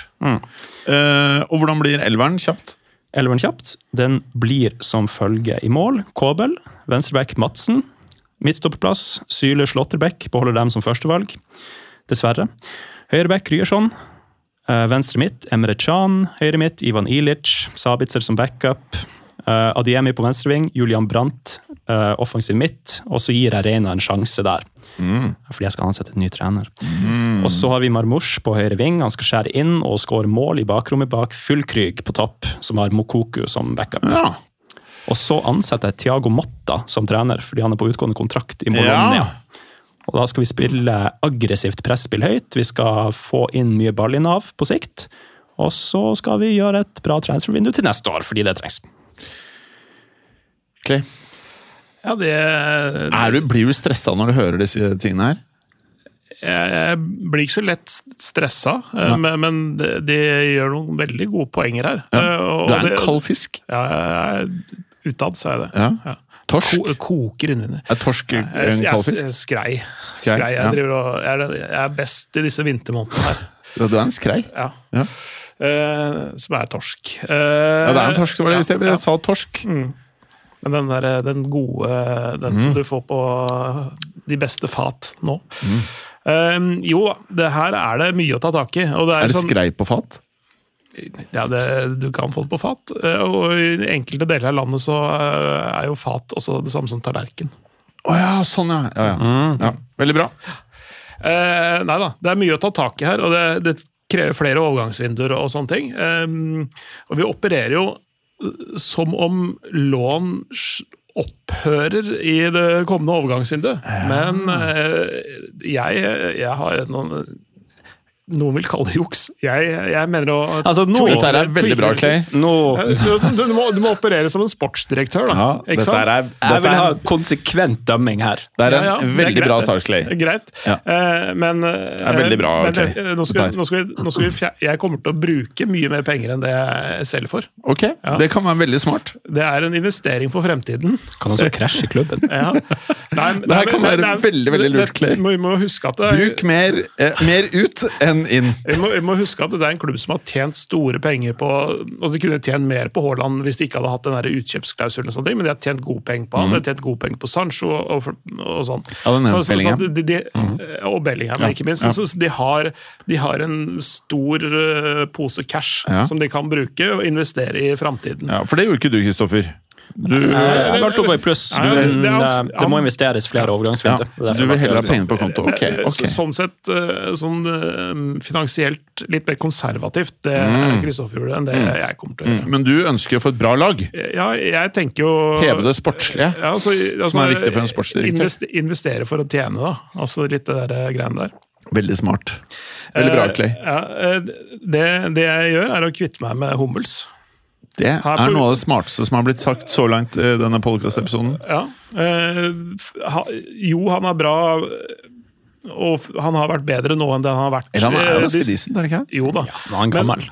B: Eh, og hvordan blir elveren kjapt?
D: Elveren kjapt. Den blir som følge i mål. Kåbel, venstreback Madsen. Midtstopperplass, Syle Slåtterbekk beholder dem som førstevalg. Dessverre. Høyreback Ryerson. Eh, Venstre midt, Emre Can. Høyre midt, Ivan Ilic. Sabitzer som backup. Eh, Adiemi på venstreving. Julian Brandt eh, offensiv midt. Og så gir jeg Reina en sjanse der. Fordi jeg skal ansette en ny trener.
B: Mm.
D: Og så har vi Marmoush på høyre ving. Han skal skjære inn og skåre mål i bakrommet bak Fullkryg på topp, som har Mokoku som backup.
B: Ja.
D: Og så ansetter jeg Tiago Motta som trener, fordi han er på utgående kontrakt i Bologna.
B: Ja.
D: Og da skal vi spille aggressivt presspill høyt. Vi skal få inn mye ballinnav på sikt. Og så skal vi gjøre et bra transfervindu til neste år, fordi det trengs.
B: Clay.
C: Ja, det eh,
B: Er du, blir du stressa når du hører disse tingene her?
C: jeg, jeg blir ikke så lett stressa, eh, men, men de, de gjør noen veldig gode poenger her. Eh, og
B: Du er en
C: det-
B: kald fisk.
C: Ja, jeg er- utad så er jeg det.
B: Ja.
C: Ja.
B: Torsk?
C: Ko koker innvendig.
B: Er torsk en
C: Jeg, jeg,
B: kald
C: jeg,
B: fisk?
C: skrei.
B: Skrei,
C: skrei.
B: ja.
C: Jeg, driver og, jeg, er, den- jeg er best i disse vintermånedene her.
B: Ja, Du er en skrei?
C: Ja.
B: Ja.
C: Eh, som er torsk. Eh,
B: Ja, det er en torsk. Det var det jeg sa. Jeg sa torsk.
C: Men den, der, eh, den gode Den som du får på eh, de beste fat nå. Eh, jo da, det her er det mye å ta tak i. Og det er,
B: Er det
C: sånn,
B: skrei på fat?
C: ja, det, du kan få det på fat. Eh, og i enkelte deler av landet så eh, er jo fat også det samme som tallerken.
B: Å ja, sånn ja. ja, ja. ja. Veldig bra.
C: Eh, nei da, det er mye å ta tak i her, og det, det krever flere overgangsvinduer og sånne ting. Eh, og vi opererer jo eh, som om lån s- opphører i det kommende overgangsvinduet. Men eh, jeg, jeg har noen noen vil kalle det juks. Jeg, jeg mener å
E: Altså, nå-
C: tweete-
B: Dette her er veldig bra,
C: tweete-
B: Clay.
E: Nå
C: Eh, Du, du, må, du må operere som en sportsdirektør, da. ikke
B: dette
C: sant?
B: her er,
E: Jeg
B: dette
E: vil ha
B: er,
E: konsekvent dømming her.
B: det er en
C: Ja, ja, det er
B: veldig
C: greit,
B: bra
C: det.
B: start,
C: Det
B: Clay.
C: er greit.
B: Ja.
C: Eh, men Det
B: er veldig bra,
C: men
B: Clay.
C: eh, nå skal,
B: Dette her.
C: nå skal, vi- nå skal vi fjer jeg kommer til å bruke mye mer penger enn det jeg selger for.
B: Ok, Det kan være veldig smart.
C: Det er en investering for fremtiden.
E: Kan også krasje i klubben.
C: Ja. Nei, men-
B: Det her
C: nei,
B: kan
C: men-
B: være
C: nei,
B: veldig, veldig lurt,
C: det-
B: Clay.
C: Vi må, må huske at det
B: (laughs) Bruk
C: er,
B: mer, eh, mer ut enn inn.
C: vi må, vi må huske at det er en klubb som har tjent store penger på og De kunne tjent mer på Haaland hvis de ikke hadde hatt den der utkjøpsklausulen, og sånne ting, men de har tjent gode penger på han, de har tjent gode penger på Sancho og, og, og sånn.
B: Mhm. Ja, den er
C: så, så, så,
B: Bellingham. Mhm.
C: de, de, Og Bellingham, ikke minst. Så, så de, har, de har en stor eh, pose cash
B: Ja.
C: som de kan bruke og investere i framtiden.
B: Ja, For det gjorde ikke du, Kristoffer. Du,
E: Jeg valgte å gå i pluss,
C: Nei, det-
E: men
C: det er
E: eh,
C: hans-
E: det må investeres flere
B: ja,
E: overgangsvinduer. Det er
B: du
E: derfor jeg
B: vil
E: valgte å
B: heller ha
E: gjøre det
B: pengene på konto. Ok, ok.
C: Så, sånn sett, eh, sånn eh, finansielt litt mer konservativt, det
B: Mm.
C: Kristoffer gjorde, enn det jeg kommer til å gjøre.
B: Men du ønsker å få et bra lag.
C: Ja, jeg tenker jo
B: Heve det sportslige.
C: Ja, altså, altså,
B: er viktig for en sportsdirektør.
C: invest- investere for å tjene, da. Altså litt det der eh, greiene der.
B: Veldig smart. Veldig bra,
C: Eh,
B: Clay.
C: Ja, eh, det, det jeg gjør, er å kvitte meg med Hummels.
B: Det er noe av det smarteste som har blitt sagt så langt i denne podcast-episoden.
C: Ja. eh, f- ha, jo, han er bra, eh, og f- han har vært bedre nå enn det han har vært.
B: Eller han er
C: eh,
B: jo ganske
C: de-
B: decent, er det ikke? det?
C: Jo da.
E: Nå er han gammel.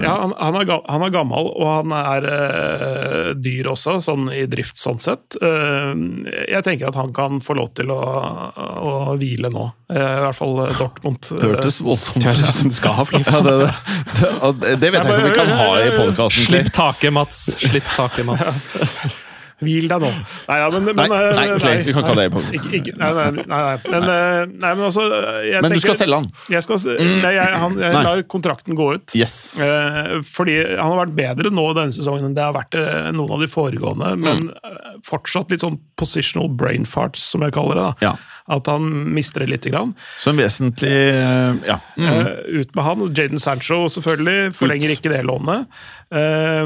C: Ja, han, han, er, ga- han er gammel, og han er eh, dyr også, sånn i drift sånn sett. Eh, jeg tenker at han kan få lov til å, å hvile nå. Eh, I hvert fall eh,
B: (laughs)
C: Dortmund.
B: Det hørtes voldsomt ut.
E: Det høres ut som du skal ha flere.
B: (laughs) Ja, det, det, det, det vet jeg ikke om vi kan ha i podkasten.
D: Slipp taket, Mats! Slipp taket,
C: (laughs)
D: Mats.
C: Hvil deg nå. Nei, ja, men, men,
B: Nei,
C: eh,
B: nei, Clay, vi kan ikke ha det i podcasten.
C: Ikke, ikke, nei, nei, nei, nei. Men, eh, nei, men altså jeg
B: Men du skal
C: tenker-
B: selge han. Mm.
C: Jeg, skal, nei, jeg, han, jeg
B: Nei.
C: lar kontrakten gå ut.
B: Yes.
C: Eh, fordi han har vært bedre nå denne sesongen enn det har vært eh, noen av de foregående, men
B: Mm.
C: eh, fortsatt litt sånn positional brain farts, som jeg kaller det. da.
B: Ja.
C: At han mister det lite grann.
B: Så en vesentlig eh, Ja. Mm.
C: Eh, ut med han. Jaden Sancho selvfølgelig forlenger
B: Ut.
C: ikke det lånet. Eh,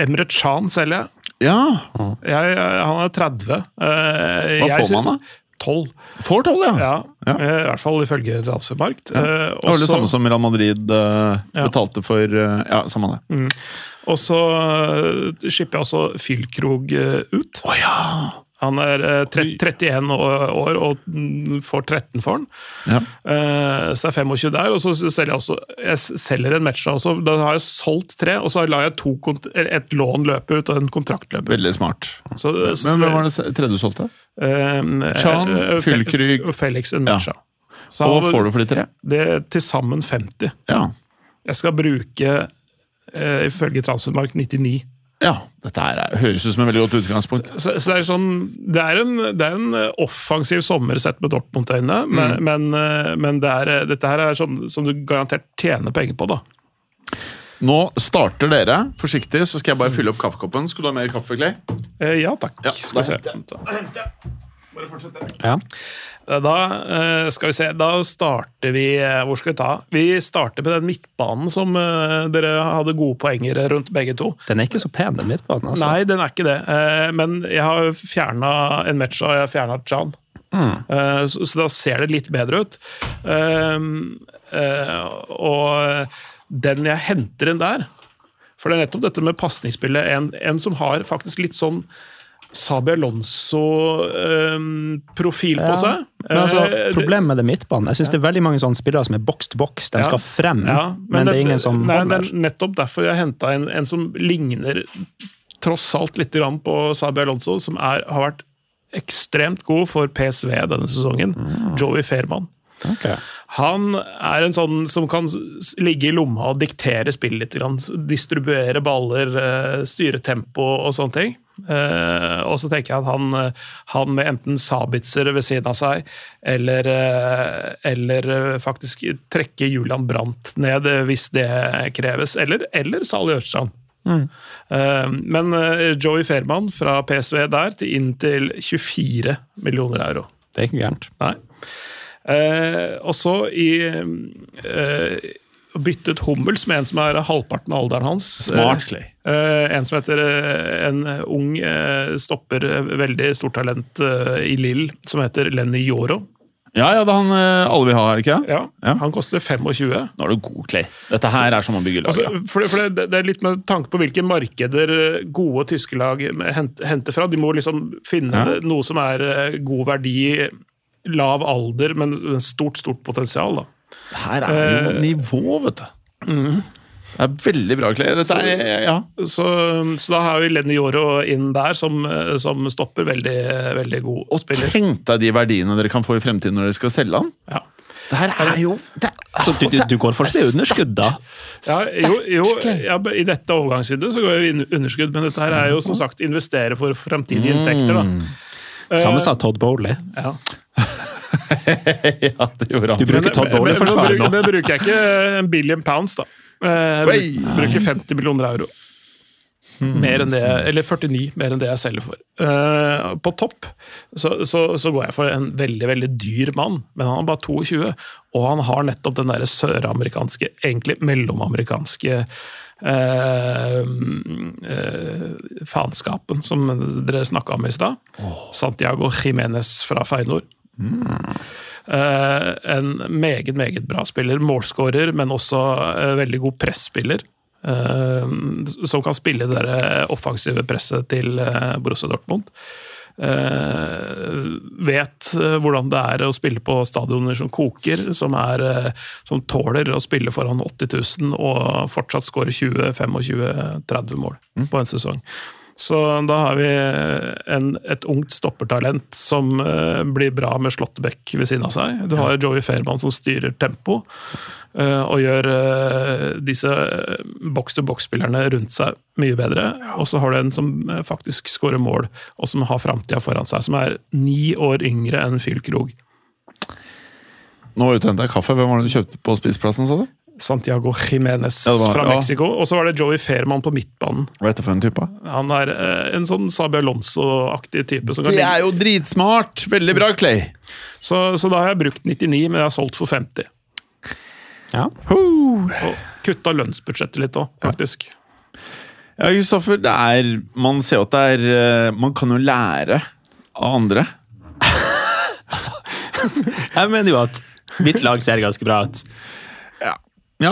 C: Emre Chan selger jeg.
B: ja.
C: jeg. Han er 30. Eh,
B: Hva
C: jeg
B: får
C: sy-
B: man, da?
C: 12.
B: Får tolv, ja.
C: Ja,
B: Ja.
C: eh, I hvert fall ifølge Transfermarkt. Eh,
B: Det var vel det
C: også-
B: samme som Real Madrid eh, betalte for eh, Ja, samme det.
C: Mm. Og så eh, skipper jeg også Fylkrog eh, ut. Han er eh, tre- 31 å- år og mm, får 13 for han.
B: Ja.
C: Eh, Så det er 25 der, og så selger jeg også Jeg s- selger en match da også. Da har jeg solgt tre, og så lar jeg to kont eller et lån løpe ut og en kontrakt løpe ut.
B: Veldig smart.
C: Så, eh,
B: Men hvem var det se- tredje du solgte? Chan, Fylkrog-
C: og Felix en match,
B: Ja.
C: ja. Så
B: Og
C: han
B: hva får du for de tre?
C: det er til sammen 50.
B: Ja.
C: Jeg skal bruke, eh, ifølge Transfermark, 99.
B: ja. Dette her er, høres ut som et veldig godt utgangspunkt.
C: Så, så det er sånn det er, en, det er en eh, offensiv sommer sett med Dortmund-øyne,
B: Mm.
C: men, men, eh, men det er, dette her er sånn som du garantert tjener penger på, da.
B: Nå starter dere. Forsiktig, så skal jeg bare fylle opp kaffekoppen. Skal du ha mer kaffe, Clay?
C: Eh, ja takk.
B: Ja,
C: skal vi
B: da
C: se. Eh, Da eh, skal vi se, da starter vi eh, Hvor skal vi ta? Vi starter med den midtbanen som eh, dere hadde gode poenger rundt, begge to.
E: Den er ikke så pen, den midtbanen. Altså.
C: Nei, den er ikke det. Eh, Men jeg har fjerna en match, og jeg har fjerna Chan.
E: Mm.
C: Eh, Så, så da ser det litt bedre ut. Eh, eh, Og den jeg henter inn der For det er nettopp dette med pasningsspillet. En, en som har faktisk litt sånn Sabi Alonso-profil på seg.
E: Men altså,
C: Eh, det-
E: problemet med det midtbanen Jeg synes det er veldig mange sånne spillere som er box to box. De
C: Ja.
E: skal frem,
C: Ja,
E: men det er ingen som
C: nei, det
E: holder.
C: er nettopp derfor jeg henta en, en som ligner tross alt litt grann på Sabi Alonso, som er, har vært ekstremt god for PSV denne sesongen.
E: Mm.
C: Joey Fairman. Han er en sånn som kan s- ligge i lomma og diktere spill litt. Grann. Distribuere baller, eh, styre tempo og sånne ting. Eh, og så tenker jeg at han, eh, han med enten Sabitzer ved siden av seg, eller, eh, eller eh, faktisk trekke Julian Brandt ned eh, hvis det kreves, eller, eller Sali Ørstrand.
D: Mm.
C: Eh, Men eh, Joey Fairman fra PSV der til inn til 24 millioner euro.
D: Det er ikke gærent.
C: Nei. Eh, og så i eh, byttet Hummels med en som er halvparten av alderen hans.
B: Smartly.
C: Eh, en som heter eh, en ung eh, stopper, eh, veldig stort talent eh, i Lill, som heter Lenny Yoro.
B: Ja, ja, det er han eh, alle vil ha, er det ikke?
C: Ja,
B: Ja.
C: Han koster 25.
B: Nå er du god, Clay. Dette her er som å bygge lag.
C: Altså,
B: ja.
C: for, for det, det er litt med tanke på hvilke markeder eh, gode tyske lag henter henter fra. De må liksom finne
B: Ja.
C: noe som er eh, god verdi, lav alder, men stort, stort potensial. da.
B: Her er det jo nivå, vet du. mm. Det er veldig bra, Clay. Dette er, ja.
C: Så, så da har vi Lenny Yoro inn der, som, som stopper veldig, veldig god
B: Og
C: spiller.
B: tenk deg de verdiene dere kan få i fremtiden når dere skal selge den.
C: Ja.
B: Det her er jo det,
D: Så du, du, du går for det underskudd, da?
C: Ja, jo, jo ja, men I dette overgangsvinduet så går vi inn- underskudd, men dette her er jo som sagt investere for fremtidige inntekter. da. Eh.
D: Samme sa Todd Bowley.
C: Ja.
B: (laughs) Ja, det gjorde
D: Du
B: han.
D: bruker Todd Bowley for svar
C: bruker,
D: nå.
C: men bruker jeg ikke en billion pounds, da. Eh, Jeg
B: Oi.
C: bruk- bruker 50 millioner euro. Mer enn det, jeg- eller 49 mer enn det jeg selger for. Eh, På topp så, så, så går jeg for en veldig veldig dyr mann, men han er bare 22. Og han har nettopp den derre søramerikanske, egentlig mellomamerikanske eh, eh, faenskapen som dere snakka om i stad. Santiago Jimenez fra Feinor. Eh, en meget, meget bra spiller. Målskårer, men også eh, veldig god presspiller. eh, som kan spille det der offensive presset til eh, Borussia Dortmund. Eh, vet eh, hvordan det er å spille på stadioner som koker, som, er, eh, som tåler å spille foran 80 000 og fortsatt skåre 20-25-30 mål på en sesong. Så da har vi eh, en, et ungt stoppertalent som eh, blir bra med Slåttebekk ved siden av seg. Du har Joey Fairman som styrer tempo eh, og gjør eh, disse boks-til-boks-spillerne rundt seg mye bedre. Og så har du en som eh, faktisk skårer mål, og som har framtida foran seg. Som er ni år yngre enn Fyll Krog.
B: Nå uthenta jeg kaffe. Hvem var det du kjøpte på spiseplassen, sa du?
C: Santiago Jimenez
B: Ja, det var-
C: fra
B: ja.
C: Mexico. Og så var det Joey Fairman på midtbanen.
B: Hva er dette for en type?
C: Han er eh, en sånn Sabi Alonso-aktig type. Som kan
B: Det
C: ligge-
B: er jo dritsmart! Veldig bra, Clay.
C: så, så da har jeg brukt 99, men jeg har solgt for 50.
D: Ja.
C: Og kutta lønnsbudsjettet litt òg, faktisk.
B: Ja, Kristoffer, det er Man ser jo at det er eh, Man kan jo lære av andre.
D: Jeg mener jo at mitt lag ser ganske bra ut.
B: Ja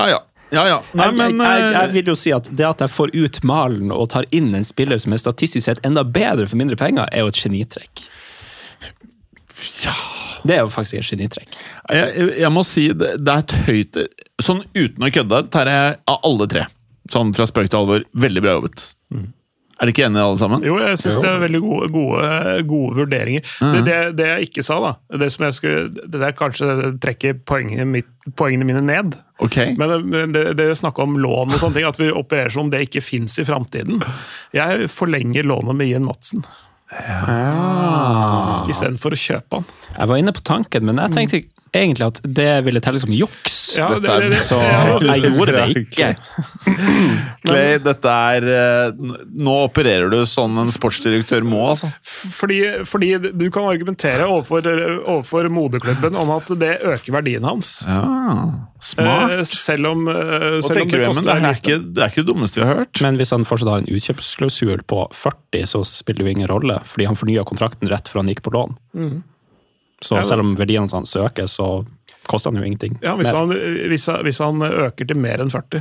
B: ja. Ja ja. Nei,
D: jeg,
B: men
D: jeg, jeg
B: eh,
D: vil jo si at Det at jeg får ut malen og tar inn en spiller som er statistisk sett enda bedre for mindre penger, er jo et genitrekk. Det er jo faktisk et genitrekk.
B: jeg, jeg må si det, det er et høyt Sånn uten å kødde tar jeg av alle tre. Sånn fra spøk til alvor. Veldig bra jobbet. Er dere ikke enige, alle sammen?
C: Mm. Jo, Mhm. jeg syns det er veldig gode, gode, gode vurderinger. Det, det, det jeg ikke sa, da Det som jeg skulle Det der kanskje trekker poengene, mitt- poengene mine ned.
B: Ok.
C: Men men det- dere snakka om lån og sånne ting, at vi opererer som om det ikke fins i framtiden. Jeg forlenger lånet med Ian Madsen. Ja. Istedenfor å kjøpe han.
D: Jeg var inne på tanken, men jeg tenkte egentlig at det ville telle som juks.
C: Ja, det- det- det-
D: så
C: (laughs) ja, det-
D: jeg gjorde det ikke.
B: Clay, dette er eh, n- Nå opererer du sånn en sportsdirektør må, altså.
C: Fordi, fordi du kan argumentere overfor, overfor moderklubben om at det øker verdien hans.
B: Smart.
C: Eh, Selv om, eh,
B: Hva
C: selv om
B: tenker
C: det
B: du, Emmen?
C: koster
B: Det her
C: deg
B: er ikke det, er ikke det dummeste vi har hørt.
D: Men hvis han fortsatt har en utkjøpsklausul på 40, så spiller det jo ingen rolle, fordi han fornya kontrakten rett før han gikk på lån.
C: Mm.
D: Så selv om verdiene hans øker, så koster han jo ingenting.
C: Ja, hvis
D: mer.
C: han, hvis, han, hvis han øker til mer enn 40.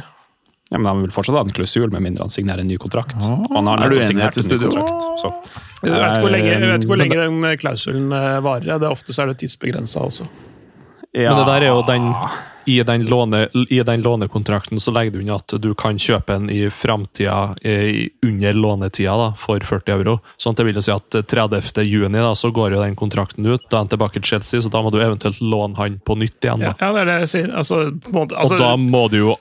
D: Ja, men han vil fortsatt ha en klausul, med mindre han signerer en ny kontrakt.
C: Ah.
D: Og han har
B: er du
D: nettopp
B: enig
D: signert
B: til
D: en ny
B: studio?
D: kontrakt, så.
C: Jeg vet ikke hvor lenge, jeg vet ikke hvor
D: Men
C: eh, lenge den klausulen eh, varer. Det er Ofte så er det tidsbegrensa også.
D: Men det der er jo den i den, låne, I den lånekontrakten så legger du inn at du kan kjøpe en i framtida eh, under lånetida da, for 40 euro. Sånn at det vil jo si at 30. juni da, så går jo den kontrakten ut. Da er han tilbake i Chelsea, så da må du eventuelt låne han på nytt igjen. da.
C: Ja, det er det jeg sier. Altså, på en måte, altså,
D: Og da må du jo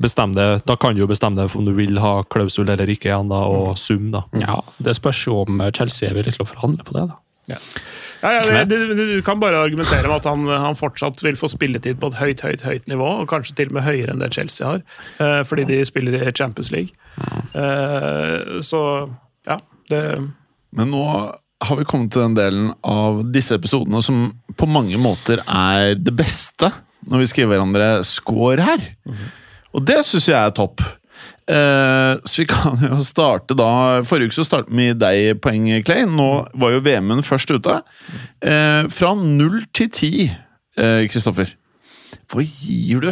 D: bestemme det, da kan du jo bestemme deg for om du vil ha klausul eller ikke igjen, da,
C: Mm.
D: og sum, da.
E: Ja, Det spørs jo om eh, Chelsea er villig til å forhandle på det. da.
C: ja, ja, det- det- det- Du kan bare argumentere med at han, eh, han fortsatt vil få spilletid på et høyt, høyt, høyt nivå, og kanskje til og med høyere enn det Chelsea har, eh, fordi de spiller i Champions League. Eh, Så ja, det
B: Men nå har vi kommet til den delen av disse episodene som på mange måter er det beste, når vi skriver hverandre score her.
E: Mhm.
B: Og det syns jeg er topp. Eh, så vi kan jo starte da Forrige uke så startet vi med deg poeng, Clay. Nå var jo VM-en først ute. Eh, fra null til ti, Kristoffer. Hva gir du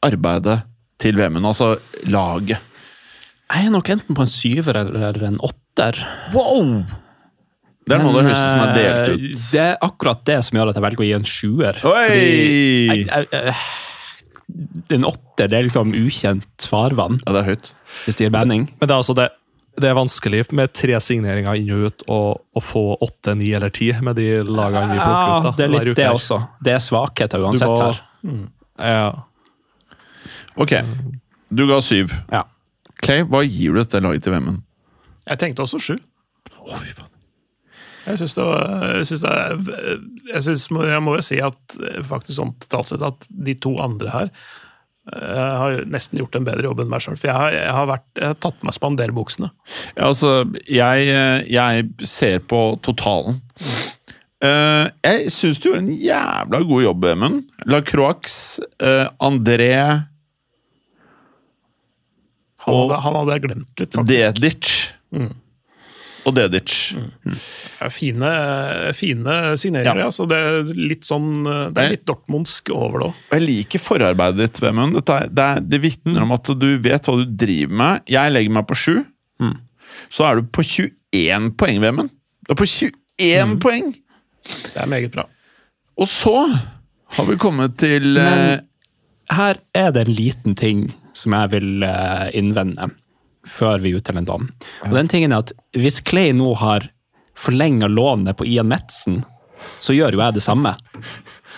B: arbeidet til VM-en, altså laget?
E: Jeg er nok enten på en syver eller en åtter.
B: Wow! Det er noe av det
E: Men,
B: høyeste som er delt
E: eh,
B: ut.
E: Det er akkurat det som gjør at jeg velger å gi en sjuer.
B: Oi!
E: Fordi jeg, jeg, jeg, en åtter det er liksom ukjent farvann,
B: Ja, det er høyt.
E: hvis det gir mening.
D: Men det er altså det, det er vanskelig med tre signeringer inn og ut og, og få åtte, ni eller ti med de lagene vi plukker ut. da.
E: det er
D: hver
E: litt
D: uke
E: det
D: her.
E: også. Det er svakheter
D: Du
E: uansett
D: må,
E: her.
D: ja.
B: Ok, du ga syv.
E: Ja.
B: Clay, hva gir du dette laget til VM-en?
C: Jeg tenkte også sju. Jeg syns det var Jeg syns det er Jeg, synes, jeg må jo si at eh, faktisk sånn totalt sett at de to andre her eh, har jo nesten gjort en bedre jobb enn meg sjøl. For jeg har, jeg, har vært, jeg har tatt på meg spanderbuksene.
B: Ja, altså, jeg, jeg ser på totalen. Eh, jeg syns du gjorde en jævla god jobb, Emund. Lacroix, eh, André,
C: Han,
B: Og-
C: hadde- han hadde jeg glemt litt, faktisk.
B: Dedic og Dedic.
C: Det er fine, fine signeringer,
B: Ja.
C: ja. Så det er litt sånn eh, Det er litt dortmundsk over det òg.
B: Og Jeg liker forarbeidet ditt, Vemund. Dette er- Det, er- det vitner om at du vet hva du driver med. Jeg legger meg på sju.
E: Mm.
B: Så er du på 21 poeng, Vemund. Du er på 21
E: Mm.
B: poeng!
C: Det er meget bra.
B: Og så har vi kommet til eh,
E: Her er det en liten ting som jeg vil eh, innvende før vi utteller en dom.
B: eh,
E: Og den tingen er at Hvis Clay nå har forlenga lånet på Ian Metzen, så gjør jo jeg det samme.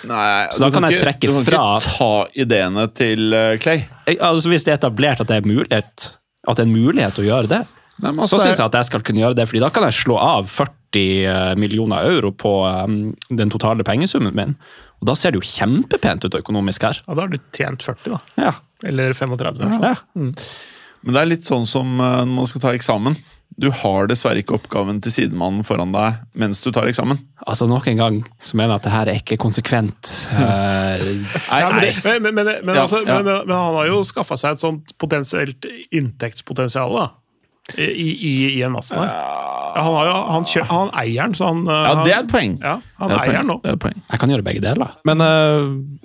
B: Nei,
E: Så da
B: du
E: kan jeg
B: ikke-
E: trekke
B: Du kan
E: fra-
B: ikke ta ideene til eh, Clay.
E: Jeg, altså Hvis det er etablert at det er mulighet, at det er en mulighet å gjøre det,
B: Nei, men altså,
E: så
B: det er-
E: syns jeg at jeg skal kunne gjøre det, fordi da kan jeg slå av 40 millioner euro på eh, den totale pengesummen min. Og da ser det jo kjempepent ut økonomisk her.
C: Ja, da har du tjent 40, da.
E: Ja.
C: Eller 35. kanskje.
E: ja.
B: Sånn. Mm. Men det er litt sånn som eh, når man skal ta eksamen. Du har dessverre ikke oppgaven til sidemannen foran deg mens du tar eksamen.
E: Altså, nok en gang så mener jeg at det her er
B: (laughs)
E: ikke konsekvent. Eh, nei,
C: Ja, men,
E: nei.
C: det- men, men, men, men,
B: Ja,
C: altså,
B: ja.
C: men, men, men han har jo skaffa seg et sånt potensielt inntektspotensial da, i, i, i en massen her. Ja, han, har jo, han, kjø, han eier den, så han eh,
B: Ja,
C: han-
B: det er et poeng.
C: Ja, han
B: Det er et
C: eier
B: poeng.
C: den nå.
B: Det er et poeng.
E: Jeg kan gjøre begge deler.
D: Men, eh,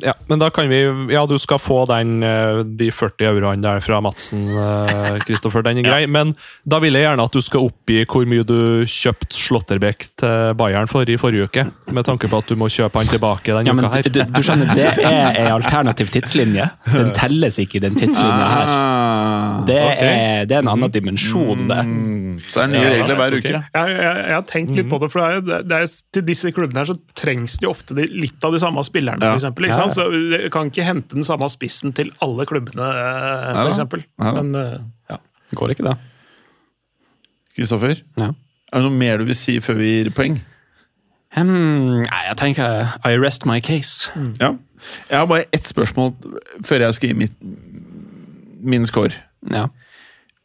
D: ja, men da kan vi Ja, du skal få den, eh, de 40 euroene der fra Madsen,
E: (laughs)
D: eh, Kristoffer. Den er grei. Men da vil jeg gjerne at du skal oppgi hvor mye du kjøpte Slåtterbekk til Bayern for i forrige uke. Med tanke på at du må kjøpe han tilbake denne
E: Ja, men
D: uka her.
E: du, du skjønner, Det er ei alternativ tidslinje. Den telles ikke, i den tidslinja her.
B: Ah, Mm.
E: Det er, det er en annen dimensjon, det.
B: så er det nye regler hver uke.
C: Jeg, jeg, jeg har tenkt
B: Mhm.
C: litt på det, for det er, jo- det er, til disse klubbene her så trengs det jo ofte de, litt av de samme spillerne,
B: Ja.
C: for eksempel, ikke sant? Så du kan ikke hente den samme spissen til alle klubbene, eh,
B: Ja da.
C: for eksempel.
B: Ja da.
C: Men eh, ja.
E: Det går ikke, det.
B: Kristoffer,
E: Ja.
B: er det noe mer du vil si før vi gir poeng?
E: Hmm, nei, jeg tenker I rest my case.
B: Ja. Jeg har bare ett spørsmål før jeg skal gi mitt, min score.
E: Ja.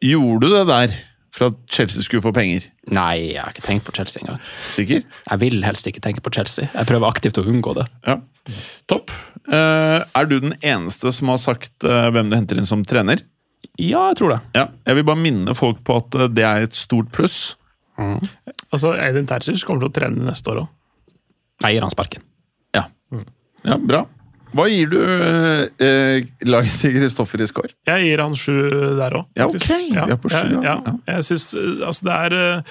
B: Gjorde du det der for at Chelsea skulle få penger?
E: Nei, jeg har ikke tenkt på Chelsea engang.
B: Sikker?
E: Jeg vil helst ikke tenke på Chelsea. Jeg prøver aktivt å unngå det.
B: Ja. Topp. Eh, er du den eneste som har sagt eh, hvem du henter inn som trener?
E: Ja, jeg tror det.
B: Ja. Jeg vil bare minne folk på at eh, det er et stort pluss.
C: Altså, Aidin Terzic kommer til å trene neste år òg.
E: Jeg gir han sparken.
B: Ja. ja bra. Hva gir du eh, eh, laget til Kristoffer i score?
C: Jeg gir han sju der òg.
B: Ja, ok. Vi er på sju,
C: ja,
B: ja.
C: ja. Jeg syns eh, Altså, det er eh,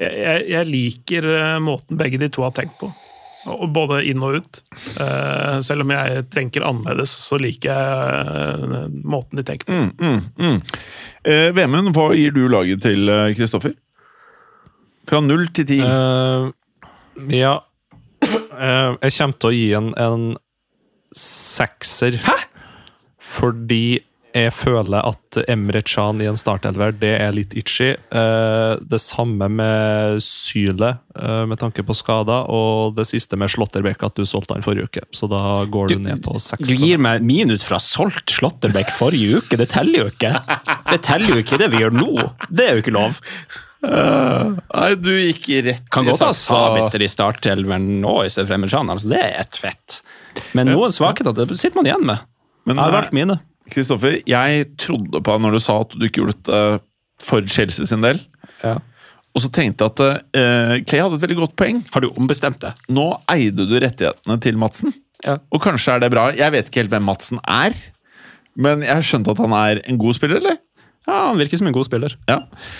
C: Jeg, jeg- jeg liker eh, måten begge de to har tenkt på. og Både inn og ut. Eh, selv om jeg tenker annerledes, så liker jeg eh, måten de tenker på.
B: Mm, mm. Eh, Vemund, hva gir du laget til eh, Kristoffer? Fra null til ti.
D: Eh, ja Eh, Jeg kommer til å gi en, en sekser. Hæ?! Fordi jeg føler at Emre Can i en startelver, det er litt itchy. Eh, Det samme med Syle, eh, med tanke på skader, og det siste med Slåtterbekk, at du solgte han forrige uke. Så da går du,
E: Du-
D: ned på seks.
E: Du gir meg minus fra solgt Slåtterbekk forrige uke. Det teller jo ikke. Det teller jo ikke det vi gjør nå. Det er jo ikke lov.
B: Nei, du gikk rett
E: Kan godt ha
B: altså.
E: Sabitzer i startelveren nå i stedet for Emilsjan. Altså, det er et fett. Men noen svakheter det sitter man igjen med.
B: Men eh,
E: Jeg har valgt mine.
B: Kristoffer, jeg trodde på deg når du sa at du ikke gjorde dette for Chelsea sin del.
E: Ja.
B: Og så tenkte jeg at eh, Clay hadde et veldig godt poeng.
E: Har du ombestemt deg?
B: Nå eide du rettighetene til Madsen.
E: Ja.
B: Og kanskje er det bra. Jeg vet ikke helt hvem Madsen er. Men jeg har skjønt at han er en god spiller, eller?
E: Ja, han virker som en god spiller.
B: Ja.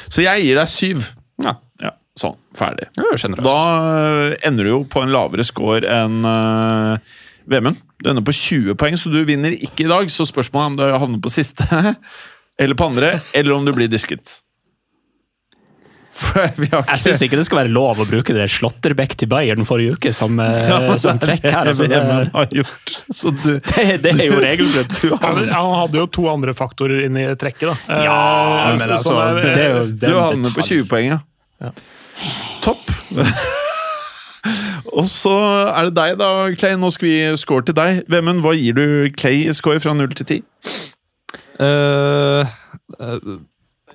B: Så jeg gir deg syv.
E: Ja,
B: Ja, sånn. Ferdig.
E: det er jo generøst.
B: Da øh, ender du jo på en lavere score enn øh, Vemund. Du ender på 20 poeng, så du vinner ikke i dag. Så spørsmålet er om du havner på siste, (laughs) eller på andre, eller om du blir disket. (laughs) For vi har
E: Jeg syns ikke det skal være lov å bruke det Slåtterbekk til Bayern forrige uke som, eh, (laughs) som trekk her. Altså, det,
B: Vemund har gjort. Så du
E: (laughs) det, det er jo
B: (laughs)
E: regelbrudd.
C: Ja, men Han hadde jo to andre faktorer inn i trekket, da.
E: Ja,
C: Eh,
E: men
C: så-
E: altså,
C: sånn er-
E: det er jo
B: Du
E: den
B: havner på
E: detalj.
B: 20 poeng, ja. Topp. (laughs) Og så er det deg, da, Clay. Nå skal vi score til deg. Vemund, hva gir du Clay i score fra 0 til 10?
D: Eh, eh,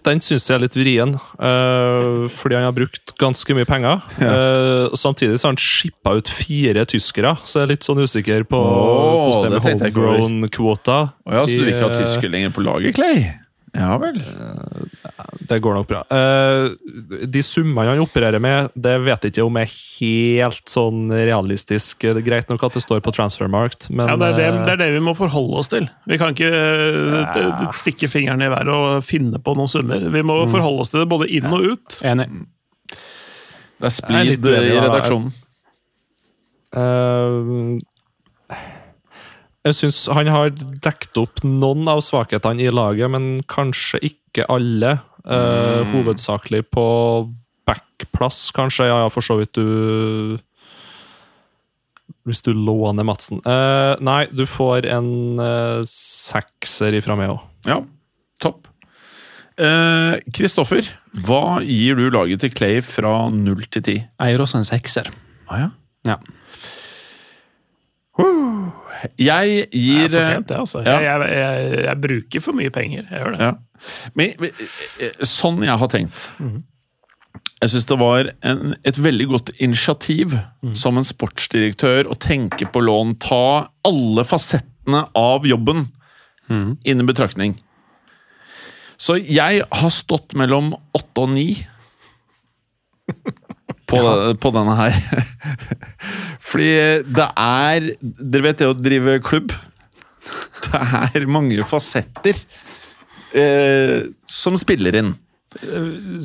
D: den syns jeg er litt vrien, eh, fordi han har brukt ganske mye penger. Eh, og samtidig så har han shippa ut fire tyskere, så jeg er litt sånn usikker på
B: Åh,
D: hvordan
B: det
D: det er med
B: tenkte jeg ikke over.
D: homegrown-kvota.
B: Å ja, så du
D: I,
B: ikke har
D: eh,
B: tysker lenger på laget, Clay? Ja vel.
D: Det går nok bra. Eh, de summene han opererer med, det vet jeg ikke om er helt sånn realistisk. Det er greit nok at det står på transfermarkt, men
C: Ja, det, er det,
D: eh,
C: det er det vi må forholde oss til. Vi kan ikke eh, d- d- stikke fingrene i været og finne på noen summer. Vi må
E: Mm.
C: forholde oss til det både inn og ut.
E: Enig.
B: Det er
D: Jeg er
B: splid
D: litt uenig,
B: i
D: da.
B: redaksjonen.
D: Eh, jeg syns han har dekket opp noen av svakhetene i laget, men kanskje ikke alle. Eh,
E: Mm.
D: Hovedsakelig på backplass, kanskje. Ja, ja, for så vidt du Hvis du låner Madsen. Eh, nei, du får en eh, sekser ifra meg òg.
B: Ja, topp. Eh, Kristoffer, hva gir du laget til Clay fra 0 til 10?
E: Jeg gir også en sekser.
B: Ah, ja.
E: Ja.
B: Jeg
C: Det er
E: eh,
B: gir eh,
C: fortjent, det, altså.
B: Ja.
C: Jeg, jeg, jeg, jeg bruker for mye penger. Jeg gjør det.
B: Ja. Men, men eh, sånn jeg har tenkt Jeg syns det var en, et veldig godt initiativ som en sportsdirektør å tenke på lån. Ta alle fasettene av jobben innen betraktning. Så jeg har stått mellom åtte og ni på, på denne her. (laughs) Fordi det er Dere vet det å drive klubb? Det er mange fasetter eh, som spiller inn.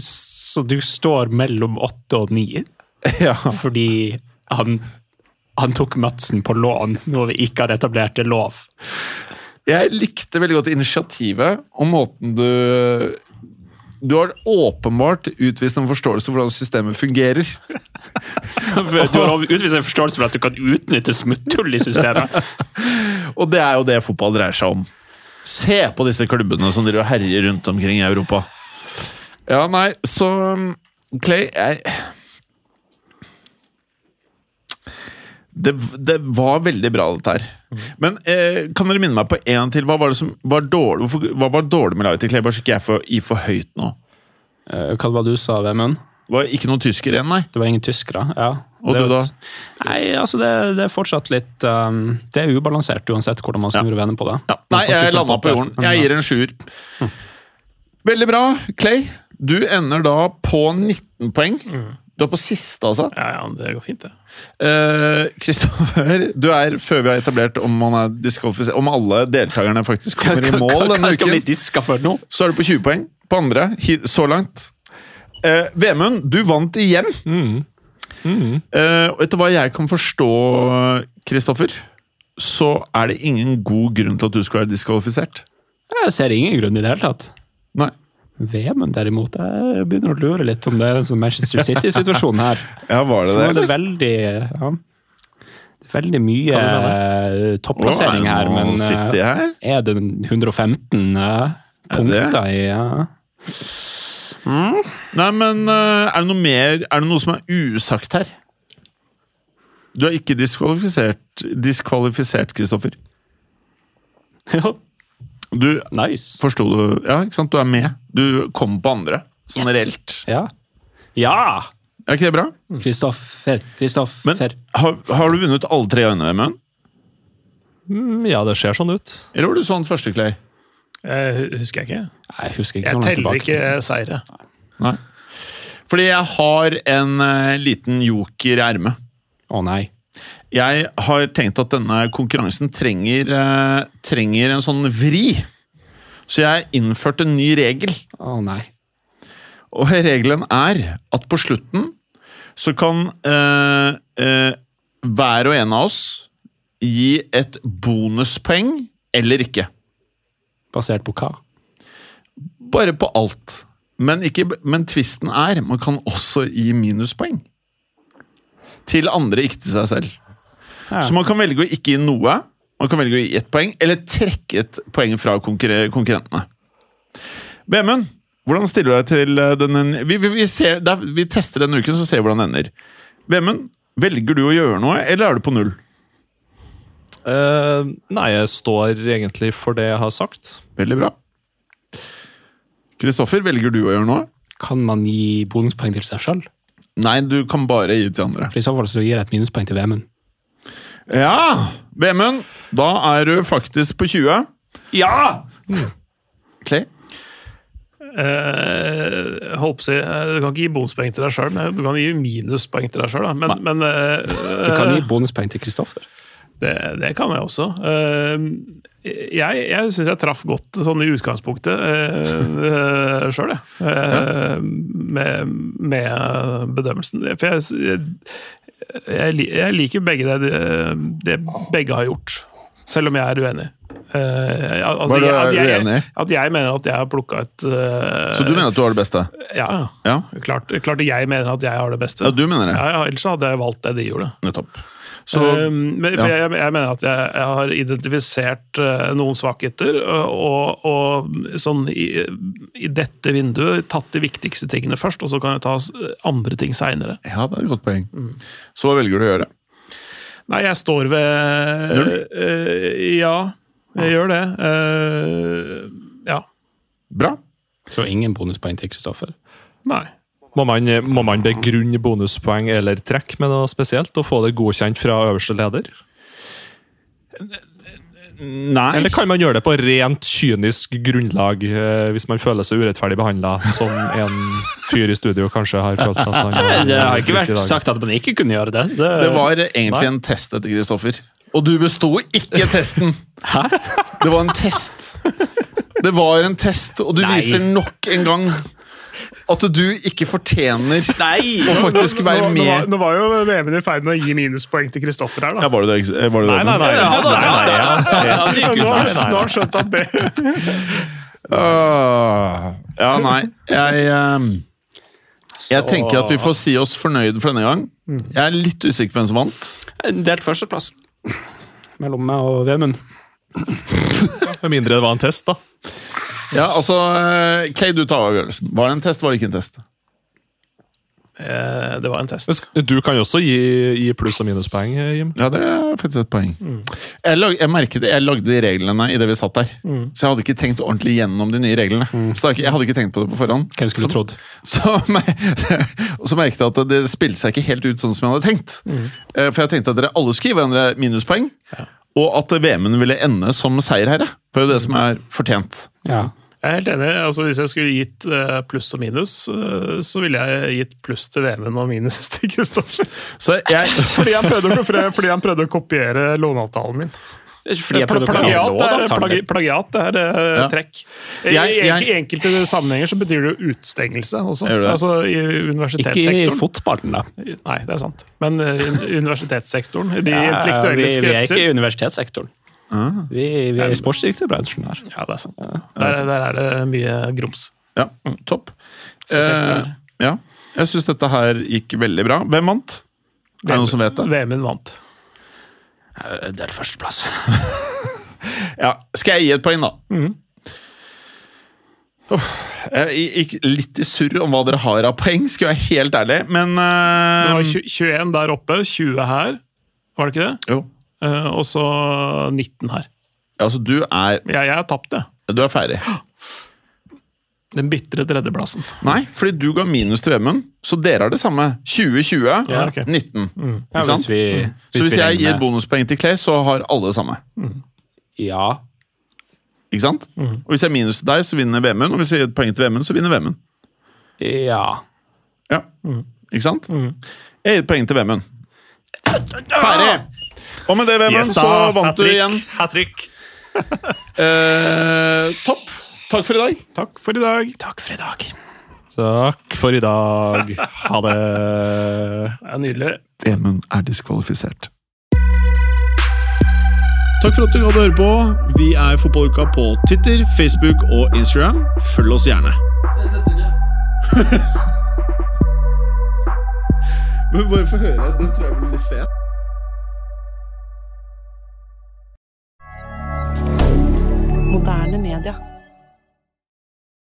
E: Så du står mellom åtte og ni
B: (laughs) Ja.
E: fordi han, han tok Madsen på lån, noe vi ikke har etablert er lov.
B: Jeg likte veldig godt initiativet og måten du Du har åpenbart utvist en forståelse for hvordan systemet fungerer.
E: Du har utvist en forståelse for at du kan utnytte smutthull i systemet.
B: Og det er jo det fotball dreier seg om. Se på disse klubbene som driver og herjer rundt omkring i Europa. Ja, nei, så um, Clay jeg det, det var veldig bra, dette her. Men eh, kan dere minne meg på én til? Hva var det som var dårlig, hvorfor, hva var dårlig med laget til Clay? Bare så ikke jeg får i for høyt nå.
E: Hva var det Eh, du sa, Vemund?
B: Det var ikke noen tysker igjen, nei.
E: Det var ingen tyskere. ja.
B: Og
E: Det er
B: du
E: jo
B: da?
E: et- Nei, altså det, det er fortsatt litt um, Det er ubalansert uansett hvordan man snur og vender på det.
B: Ja. Nei, jeg landa på jorden. Jeg gir en sjuer. Veldig bra. Clay, du ender da på 19 poeng. Du er på siste, altså.
C: Ja, ja, det går fint, det.
B: Eh, Kristoffer, du er før vi har etablert om man er diskvalifisert Om alle deltakerne faktisk kommer i mål denne
E: Skal bli
B: uken,
E: diska for nå?
B: så er du på 20 poeng. På andre, hi- så langt. Eh, Vemund, du vant igjen. Eh, og etter hva jeg kan forstå, Kristoffer, så er det ingen god grunn til at du skal være diskvalifisert.
E: Jeg ser ingen grunn i det hele tatt.
B: Nei.
E: VM-en derimot, jeg begynner å lure litt om det er en sånn Manchester City-situasjon her.
B: Ja, var
E: Nå er det veldig ja, det er veldig mye eh, topplassering her, men eh,
B: Sitter jeg her?
E: er det 115 eh,
B: det?
E: punkter i ja. (laughs)
B: Nei, men eh, er det noe mer Er det noe som er usagt her? Du er ikke diskvalifisert, diskvalifisert Kristoffer. Du
E: Nice.
B: forsto du Ja, ikke sant? Du er med. Du kommer på andre, sånn reelt.
E: Ja! Ja!
B: Er ikke det bra?
E: Kristoffer,
B: Men
E: Kristoffer.
B: har, har du vunnet alle tre NM-en?
D: Mm, Ja, det ser sånn ut.
B: Eller var du sånn første, Clay?
C: Jeg Eh, husker jeg ikke.
E: Nei, Jeg husker ikke så
C: Jeg
E: langt
C: teller
E: tilbake.
C: ikke eh, seire.
B: Nei. Fordi jeg har en eh, liten joker i ermet.
E: Å nei.
B: Jeg har tenkt at denne konkurransen trenger, eh, trenger en sånn vri. Så jeg innførte en ny regel.
E: Å nei.
B: Og regelen er at på slutten så kan eh, eh, hver og en av oss gi et bonuspoeng eller ikke.
E: Basert på hva?
B: Bare på alt. Men, ikke, men tvisten er man kan også gi minuspoeng. Til andre, ikke til seg selv. Så man kan velge å ikke gi noe. Man kan velge å gi ett poeng, eller trekke et poeng fra konkurre- konkurrentene. Vemund, hvordan stiller du deg til eh, denne vi, vi, vi, ser, det er- vi tester denne uken, så ser vi hvordan den ender. Vemund, velger du å gjøre noe, eller er du på null?
D: Eh, nei, jeg står egentlig for det jeg har sagt.
B: Veldig bra. Kristoffer, velger du å gjøre noe?
E: Kan man gi bonuspoeng til seg sjøl?
B: Nei, du kan bare gi til andre.
E: For i så fall så gir jeg et minuspoeng til VM-en.
B: Ja! Vemund, da er du faktisk på 20.
E: Ja!
B: Clay?
C: Eh, jeg holdt på å si, eh, du kan ikke gi bonuspoeng til deg sjøl, men du kan gi minuspoeng til deg sjøl. Men, men eh,
E: Du kan gi bonuspoeng til Kristoffer.
C: det, det kan jeg også. Eh, jeg jeg syns jeg traff godt sånn i utgangspunktet (laughs) uh, sjøl, jeg. Eh, med, med bedømmelsen. For jeg, jeg, li- jeg liker begge det, det- det begge har gjort, selv om jeg er uenig. Eh, at, at
B: Hva er du
C: jeg- at jeg-
B: uenig i?
C: At jeg mener at jeg har plukka ut eh,
B: Så du mener at du har det beste?
C: Ja,
B: Ja.
C: Klart, klart jeg mener at jeg har det beste.
B: Ja, du mener det.
C: Ja, ja, ellers hadde jeg valgt det de gjorde.
B: Nettopp. Så
C: um, men, for
B: Mm. ja.
C: jeg, jeg mener at jeg, jeg har identifisert eh, noen svakheter, eh, og, og sånn i, i dette vinduet tatt de viktigste tingene først, og så kan jeg ta s- andre ting seinere.
B: Ja, det er et godt poeng. Så hva velger du å gjøre?
C: Nei, jeg står ved
B: Null?
C: eh, ja, jeg gjør det. Eh, ja.
B: Bra.
E: Så ingen bonuspoeng til Kristoffer.
C: Nei.
D: Må man, må man begrunne bonuspoeng eller trekk med noe spesielt og få det godkjent fra øverste leder?
B: Nei.
D: Eller kan man gjøre det på rent kynisk grunnlag eh, hvis man føler seg urettferdig behandla, som en fyr i studio kanskje har følt at han
E: Det har ikke
D: i
E: vært
D: dag?
E: sagt at man ikke kunne gjøre det.
B: Det var egentlig en test etter Kristoffer. Og du besto ikke testen! Hæ? Det var en test. Det var en test, og du viser nok en gang at du ikke fortjener å faktisk være med.
C: var jo Even i ferd med å gi minuspoeng til Kristoffer her,
B: Ja, var det det? Var det
D: Nei, nei, nei. nei, nei, jeg har sett- nei, nei, nei.
C: skjønt at det
B: Åh. Ah. Ja, nei. Jeg, ehm, jeg tenker at vi får si oss fornøyd for denne gang.
D: Mm.
B: Jeg er litt usikker på hvem som vant.
E: Delt førsteplass mellom meg og Vemund.
D: Med mindre det var en test, da.
B: Ja, altså, eh, Clay, du tar avgjørelsen. Var det en test, var det ikke en test?
C: Eh, Det var en test.
D: Men sk- Du kan jo også gi, gi pluss- og minuspoeng, eh, Jim.
B: Ja, det er faktisk et poeng. Jeg, lag, jeg merket det, jeg lagde de reglene i det vi satt der. Så jeg hadde ikke tenkt ordentlig gjennom de nye reglene. Så jeg, jeg hadde ikke tenkt på det på forhånd.
E: Hvem skulle
B: Så-
E: trodd?
B: Så, (laughs) mer- og så merket jeg at det spilte seg ikke helt ut sånn som jeg hadde tenkt. Eh, For jeg tenkte at dere alle skulle gi hverandre minuspoeng, og at VM-en ville ende som seierherre. For det er jo det som er fortjent.
E: Ja.
C: Jeg er helt enig. altså Hvis jeg skulle gitt eh, pluss og minus, eh, så ville jeg gitt pluss til VM-en og minus (laughs) til Kristoffer.
B: Så jeg,
C: Fordi, han prøvde å- fordi han prøvde å kopiere låneavtalen min.
E: Det er ikke fordi jeg
C: Pla-
E: produktene
C: plagiat,
E: nå, da,
C: er,
E: tar
C: plagi,
E: det.
C: plagiat det er eh,
B: Ja.
C: trekk. I,
B: Jeg-
C: i enk-
B: jeg-
C: I enkelte sammenhenger så betyr det jo utstengelse også.
B: Gjør det?
C: Altså i
E: Ikke i
C: universitetssektoren.
E: fotballen, da.
C: Nei, det er sant. Men eh, i universitetssektoren, i de
E: Ja, vi,
C: intellektuelle
E: vi er ikke
C: kretser,
E: i universitetssektoren. Ah. Vi, vi er i sportsdirektørbransjen her.
C: ja, det er sant. Der, der er det mye grums.
B: Ja, topp.
C: Spesielt
B: Eh, ja. Jeg syns dette her gikk veldig bra. Hvem vant? Er det noen som vet det?
C: VM-en vant.
E: Delt førsteplass.
B: Ja, skal jeg gi et poeng, da? Åh, jeg gikk litt i surr om hva dere har av poeng, skal jeg være helt ærlig, men
C: Det
B: eh,
C: var tju- 21 der oppe, 20 her, var det ikke det?
B: jo.
C: Eh, Og så 19 her.
B: Altså, du er,
C: Ja, jeg har tapt det.
B: du er ferdig.
C: Den bitre tredjeplassen.
B: Nei, fordi du ga minus til Vemund, så dere har det samme. 2020,
C: Ja, ok.
B: 19.
E: Ja,
B: Ikke sant?
E: hvis vi,
B: så hvis
E: vi
B: jeg gir
E: regner-
B: bonuspoeng til Clay, så har alle det samme.
E: Ja.
B: Ikke sant?
D: Mhm.
B: Og hvis jeg er minus til deg, så vinner Vemund. Og hvis jeg gir et poeng til Vemund, så vinner Vemund.
E: Ja.
B: Ja.
D: Mhm.
B: Ikke sant? Jeg gir et poeng til Vemund. Ferdig! Og med det, Vemund,
D: Yes da,
B: så vant du
D: hat-trick,
B: igjen.
D: hat-trick.
B: (laughs) Eh, topp. Takk for i dag.
C: Takk for i dag.
E: Takk for i dag.
D: Takk for i dag. Ha det.
C: Det er nydelig.
B: Vemund er diskvalifisert. Takk for at du hadde høre på. Vi er Fotballuka på Twitter, Facebook og Instagram. Følg oss gjerne. Men bare få høre. Den tror jeg blir litt fet.